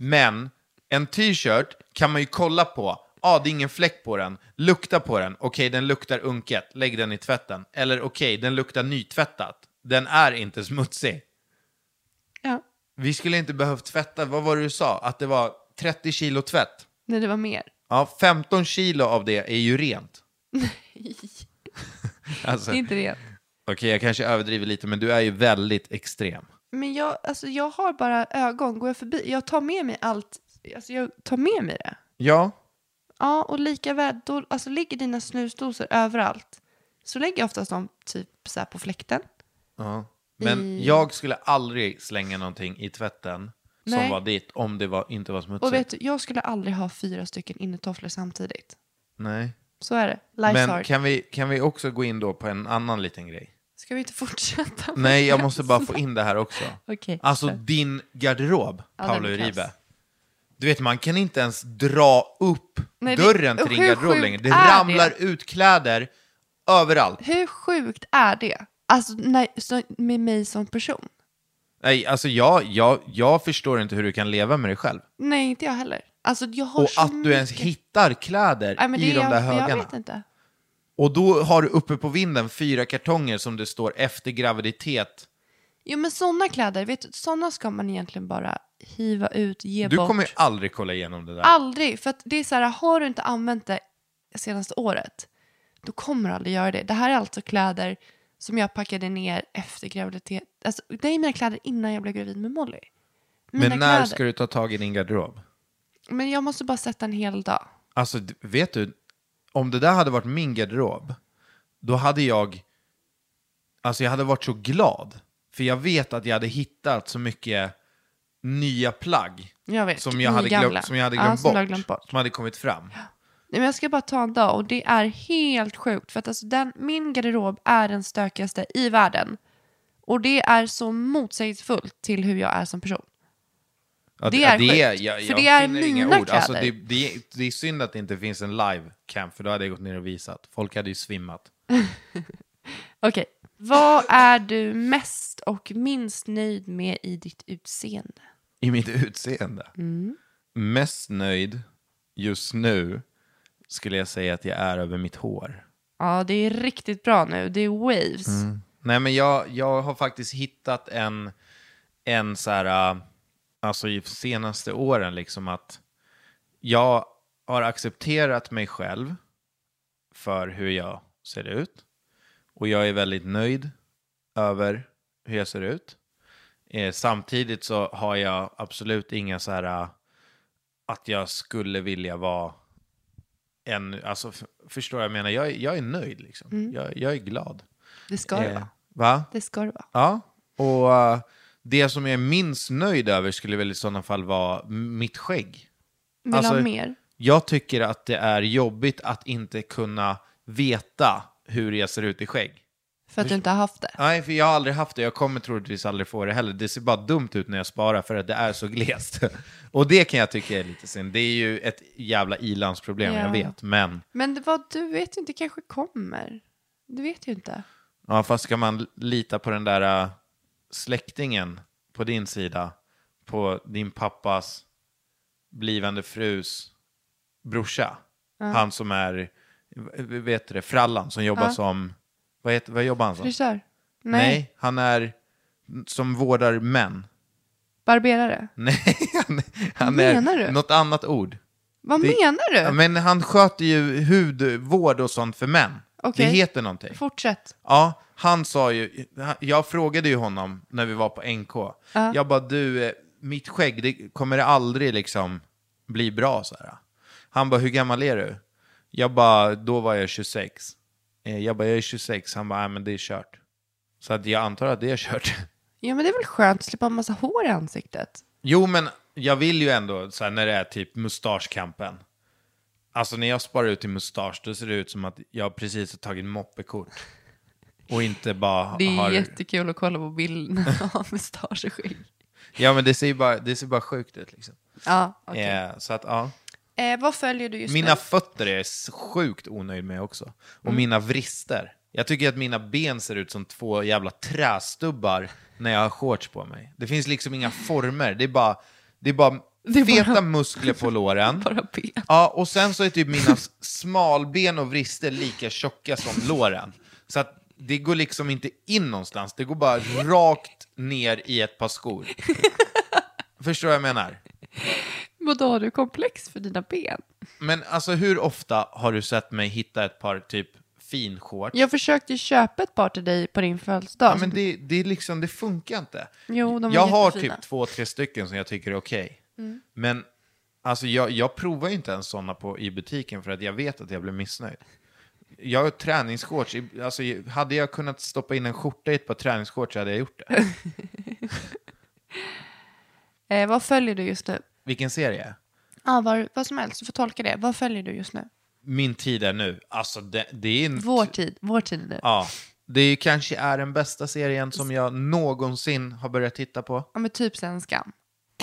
Speaker 1: Men en t-shirt kan man ju kolla på. Ja, ah, det är ingen fläck på den. Lukta på den. Okej, den luktar unket. Lägg den i tvätten. Eller okej, den luktar nytvättat. Den är inte smutsig.
Speaker 2: Ja.
Speaker 1: Vi skulle inte behövt tvätta, vad var det du sa? Att det var 30 kilo tvätt.
Speaker 2: Nej, det var mer.
Speaker 1: Ja, 15 kilo av det är ju rent. alltså,
Speaker 2: Det är
Speaker 1: okej,
Speaker 2: inte det.
Speaker 1: jag kanske överdriver lite, men du är ju väldigt extrem.
Speaker 2: Men jag, alltså, jag har bara ögon. Går jag förbi? Jag tar med mig allt. Alltså, jag tar med mig det.
Speaker 1: Ja,
Speaker 2: Ja, och lika väl, då, alltså ligger dina snusdosor överallt så lägger jag oftast dem typ så här på fläkten.
Speaker 1: Ja. Men jag skulle aldrig slänga någonting i tvätten som
Speaker 2: Nej.
Speaker 1: var ditt om det var, inte var smutsigt.
Speaker 2: Och vet du, jag skulle aldrig ha fyra stycken innetofflor samtidigt.
Speaker 1: Nej.
Speaker 2: Så är det. Life's
Speaker 1: Men
Speaker 2: hard.
Speaker 1: kan vi, kan vi också gå in då på en annan liten grej?
Speaker 2: Ska vi inte fortsätta? med
Speaker 1: Nej, jag
Speaker 2: det?
Speaker 1: måste bara få in det här också.
Speaker 2: Okej.
Speaker 1: Alltså din garderob,
Speaker 2: Ja,
Speaker 1: Paolo
Speaker 2: den är
Speaker 1: Uribe.
Speaker 2: kass.
Speaker 1: Du vet, man kan inte ens dra upp
Speaker 2: Nej, det-
Speaker 1: dörren till din
Speaker 2: hur
Speaker 1: garderob
Speaker 2: sjukt
Speaker 1: längre. Det
Speaker 2: är det?
Speaker 1: ramlar ut kläder överallt.
Speaker 2: Hur sjukt är det? Alltså när, så, med mig som person?
Speaker 1: Nej, alltså jag, jag, jag förstår inte hur du kan leva med dig själv.
Speaker 2: Nej, inte jag heller. Alltså jag har
Speaker 1: Och
Speaker 2: så
Speaker 1: att du ens
Speaker 2: mycket-
Speaker 1: hittar kläder
Speaker 2: Nej, men det
Speaker 1: i de
Speaker 2: är- alltså,
Speaker 1: där
Speaker 2: Jag
Speaker 1: högarna.
Speaker 2: vet inte.
Speaker 1: Och då har du uppe på vinden fyra kartonger som det står efter graviditet.
Speaker 2: Jo men sådana kläder, vet du, sådana ska man egentligen bara hiva ut, ge
Speaker 1: Du
Speaker 2: bort.
Speaker 1: kommer ju aldrig kolla igenom det där.
Speaker 2: Aldrig, för att det är så här, har du inte använt det senaste året, då kommer du aldrig göra det. Det här är alltså kläder som jag packade ner efter graviditet. Alltså, det är mina kläder innan jag blev gravid med Molly. Mina
Speaker 1: Men när
Speaker 2: kläder.
Speaker 1: ska du ta tag i din garderob?
Speaker 2: Men jag måste bara sätta en hel dag.
Speaker 1: Alltså, d- vet du, om det där hade varit min garderob, då hade jag... Alltså jag hade varit så glad. För jag vet att jag hade hittat så mycket nya plagg
Speaker 2: Jag vet,
Speaker 1: som jag hade, glöm,
Speaker 2: nygamla.
Speaker 1: som jag hade
Speaker 2: Ja,
Speaker 1: glömt,
Speaker 2: som
Speaker 1: bort,
Speaker 2: du har glömt bort.
Speaker 1: Som hade kommit fram.
Speaker 2: Nej, men jag ska bara ta en dag och det är helt sjukt. För att alltså, den, min garderob är den stökigaste i världen. Och det är så motsägelsefullt till hur jag är som person.
Speaker 1: Ja,
Speaker 2: Det är
Speaker 1: det,
Speaker 2: sjukt,
Speaker 1: jag,
Speaker 2: för
Speaker 1: jag
Speaker 2: det är
Speaker 1: finner inga
Speaker 2: mina
Speaker 1: ord. Alltså, det,
Speaker 2: kläder.
Speaker 1: det, det är synd att det inte finns en live-cam, för då hade jag gått ner och visat. Folk hade ju svimmat.
Speaker 2: Okej. Vad är du mest och minst nöjd med i ditt utseende?
Speaker 1: I mitt utseende. Mest nöjd just nu skulle jag säga att jag är över mitt hår.
Speaker 2: Ja, det är riktigt bra nu. Det är waves.
Speaker 1: Nej, men jag, jag har faktiskt hittat en, en så här, äh, alltså i senaste åren liksom att jag har accepterat mig själv för hur jag ser ut. Och jag är väldigt nöjd över hur jag ser ut. Eh, samtidigt så har jag absolut inga så här äh, att jag skulle vilja vara en, alltså f- förstår jag, vad jag menar, jag, är- jag är nöjd liksom. Jag, jag är glad.
Speaker 2: Det ska det
Speaker 1: Eh,
Speaker 2: vara.
Speaker 1: Va?
Speaker 2: Det ska det vara.
Speaker 1: Ja. Och eh, det som jag är minst nöjd över skulle väl i sådana fall vara m- mitt skägg.
Speaker 2: Vill
Speaker 1: alltså-
Speaker 2: ha mer?
Speaker 1: Jag tycker att det är jobbigt att inte kunna veta hur jag ser ut i skägg.
Speaker 2: För att du inte har haft det?
Speaker 1: Nej, för jag har aldrig haft det. Jag kommer troligtvis aldrig få det heller. Det ser bara dumt ut när jag sparar för att det är så glest. Och det kan jag tycka är lite synd. Det är ju ett jävla ilandsproblem, jag
Speaker 2: Ja.
Speaker 1: vet. Men
Speaker 2: Men det vad du vet ju inte, det kanske kommer. Du vet ju inte.
Speaker 1: Ja, fast ska man lita på den där äh, släktingen på din sida, på din pappas blivande frus brorsa, han som är, v- vet du det, frallan som jobbar som, vad, heter, vad jobbar han som?
Speaker 2: Frisör? Nej.
Speaker 1: Nej, han är som vårdar män.
Speaker 2: Barberare?
Speaker 1: Nej, han, han
Speaker 2: Menar
Speaker 1: är
Speaker 2: du?
Speaker 1: något annat ord.
Speaker 2: Vad
Speaker 1: Det-
Speaker 2: menar du?
Speaker 1: Ja, Men han sköter ju hudvård och sånt för män.
Speaker 2: Okej.
Speaker 1: Det heter någonting.
Speaker 2: Fortsätt.
Speaker 1: Ja, han sa ju, jag frågade ju honom när vi var på NK. Jag bara, du, eh, mitt skägg, det kommer det aldrig liksom bli bra så här. Han bara, hur gammal är du? Jag bara, då var jag 26. Eh, Jag bara, jag är 26. Han bara, nej men det är kört. Så att jag antar att det är kört.
Speaker 2: Ja, men det är väl skönt att slippa en massa hår i ansiktet?
Speaker 1: Jo, men jag vill ju ändå, så här, när det är typ mustaschkampen. Alltså när jag sparar ut till mustasch, då ser det ut som att jag precis har tagit moppekort. Och inte bara
Speaker 2: Det är
Speaker 1: har...
Speaker 2: jättekul att kolla på bilderna av mustasch och skägg.
Speaker 1: Ja men det ser ju bara, det ser bara sjukt ut liksom.
Speaker 2: Ja, okej.
Speaker 1: Eh, så att ja.
Speaker 2: Eh, vad följer du just
Speaker 1: Mina
Speaker 2: nu?
Speaker 1: fötter är jag sjukt onöjd med också. Och
Speaker 2: Mm.
Speaker 1: mina vrister. Jag tycker att mina ben ser ut som två jävla trästubbar när jag har shorts på mig. Det finns liksom inga former. Det är bara, det är bara
Speaker 2: Det är
Speaker 1: feta
Speaker 2: bara-
Speaker 1: muskler på låren.
Speaker 2: Bara ben.
Speaker 1: Ja, och sen så är typ mina s- smalben och vrister lika tjocka som låren. Så att det går liksom inte in någonstans. Det går bara rakt ner i ett par skor. Förstår vad jag menar?
Speaker 2: Vadå, har du komplex för dina ben?
Speaker 1: Men alltså hur ofta har du sett mig hitta ett par typ finshorts?
Speaker 2: Jag försökte ju köpa ett par till dig på din födelsedag.
Speaker 1: Ja, men det, det är liksom, det funkar inte.
Speaker 2: Jo, de är
Speaker 1: jag har
Speaker 2: jättefina. Mm.
Speaker 1: typ två, tre stycken som jag tycker är okej. Men alltså jag, jag provar ju inte ens sådana på, i butiken för att jag vet att jag blir missnöjd. Jag har träningsshorts, i- alltså hade jag kunnat stoppa in en skjorta i ett par träningsshorts så hade jag gjort det.
Speaker 2: Eh, vad följer du just nu?
Speaker 1: Vilken serie?
Speaker 2: Ja, vad, vad som helst, du får tolka det. Vad följer du just nu?
Speaker 1: Min tid är nu. Alltså det, det är en...
Speaker 2: Vår tid, vår tid är nu. Ja.
Speaker 1: Ja. Det är ju kanske är den bästa serien som jag någonsin har börjat titta på.
Speaker 2: men typ sen skam.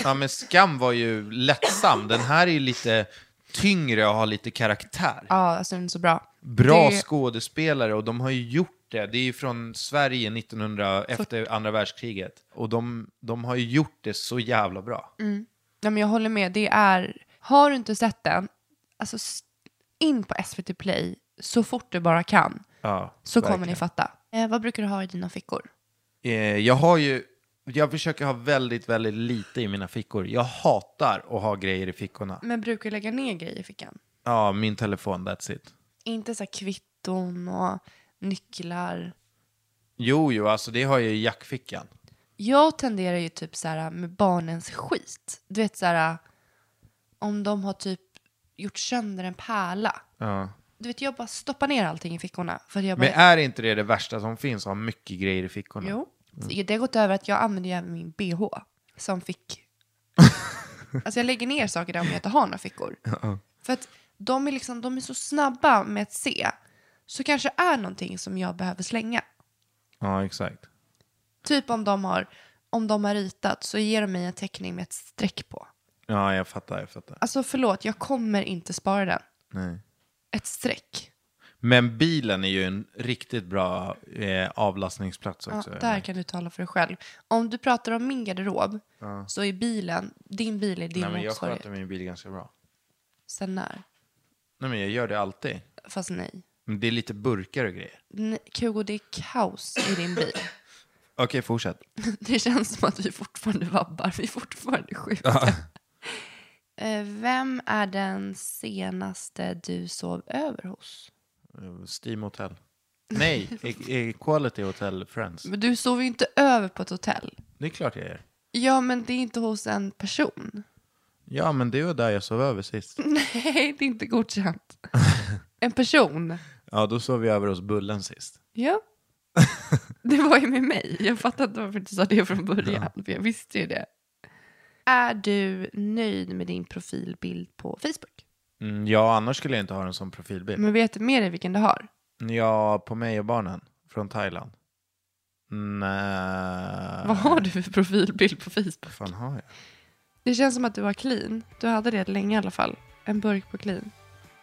Speaker 1: Ja, men Skam var ju lättsam. Den här är ju lite tyngre och har lite karaktär.
Speaker 2: Ja, alltså den är så bra.
Speaker 1: Bra
Speaker 2: det-
Speaker 1: skådespelare och de har ju gjort det. Det är ju från Sverige 1900, efter andra världskriget. Och de, de har ju gjort det så jävla bra.
Speaker 2: Mm. Ja, men jag håller med, det är... Har du inte sett den, alltså s- in på SVT Play så fort du bara kan.
Speaker 1: Ja,
Speaker 2: Så kommer
Speaker 1: verkligen.
Speaker 2: ni fatta. Eh, vad brukar du ha i dina fickor?
Speaker 1: Eh, jag har ju... Jag försöker ha väldigt, väldigt lite i mina fickor. Jag hatar att ha grejer i fickorna.
Speaker 2: Men brukar du lägga ner grejer i fickan?
Speaker 1: Ja, min telefon, that's it.
Speaker 2: Inte så här kvitton och nycklar.
Speaker 1: Jo, jo, alltså det har jag i jackfickan.
Speaker 2: Jag tenderar ju typ så här med barnens skit. Du vet så här om de har typ gjort sönder en pärla.
Speaker 1: Ja.
Speaker 2: Du vet jag bara stoppar ner allting i fickorna. För jag bara,
Speaker 1: Men är inte det det värsta som finns, att ha mycket grejer i fickorna?
Speaker 2: Jo.
Speaker 1: Mm.
Speaker 2: Det har gått över att jag använder ju även min bh som fick... alltså jag lägger ner saker där om jag inte har några fickor. För att de är, liksom, de är så snabba med att se. Så kanske är någonting som jag behöver slänga.
Speaker 1: Ja, exakt.
Speaker 2: Typ om de har, om de har ritat så ger de mig en teckning med ett streck på.
Speaker 1: Ja, jag fattar, jag fattar.
Speaker 2: Alltså förlåt, jag kommer inte spara den.
Speaker 1: Nej.
Speaker 2: Ett streck.
Speaker 1: Men bilen är ju en riktigt bra eh, avlastningsplats
Speaker 2: Ja,
Speaker 1: också.
Speaker 2: där kan du tala för dig själv. Om du pratar om min garderob så är bilen, din bil är din
Speaker 1: Nej, men jag
Speaker 2: motsvarighet.
Speaker 1: sköter min bil ganska bra.
Speaker 2: Sen när?
Speaker 1: Nej, men jag gör det alltid.
Speaker 2: Fast nej.
Speaker 1: Men det är lite burkar och grejer.
Speaker 2: nej. Hugo, det är kaos i din bil.
Speaker 1: Okej, fortsätt.
Speaker 2: Det känns som att vi fortfarande vabbar, vi är fortfarande sjuka. Eh, Vem är den senaste du sov över hos?
Speaker 1: Eh, Steam Hotel. Nej, E- Equality Hotel Friends.
Speaker 2: Men du sov ju inte över på ett hotell.
Speaker 1: Det är klart jag gör.
Speaker 2: Ja, men det är inte hos en person.
Speaker 1: Ja, men det var där jag sov över sist.
Speaker 2: Nej, det är inte godkänt. En person.
Speaker 1: Ja, då sov vi över hos Bullen sist.
Speaker 2: Ja. Det var ju med mig. Jag fattade inte varför du inte sa det från början. För jag visste ju det. Är du nöjd med din profilbild på Facebook?
Speaker 1: Mm, ja, annars skulle jag inte ha den som profilbild.
Speaker 2: Men vet du med dig vilken du har?
Speaker 1: Ja, på mig och barnen. Från Thailand. Nej.
Speaker 2: Vad har du för profilbild på Facebook?
Speaker 1: Vad fan har jag?
Speaker 2: Det känns som att du har clean. Du hade det länge i alla fall. En burk på clean.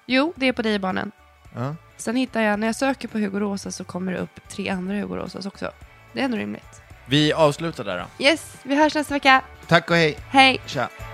Speaker 2: Jo, det är på dig och barnen.
Speaker 1: Ja.
Speaker 2: Sen hittar jag, när jag söker på Hugo Rosas så kommer det upp tre andra Hugo Rosas också. Det är ändå rimligt.
Speaker 1: Vi avslutar där då.
Speaker 2: Yes, vi hörs nästa vecka.
Speaker 1: Tack och hej.
Speaker 2: Hej!
Speaker 1: Tja.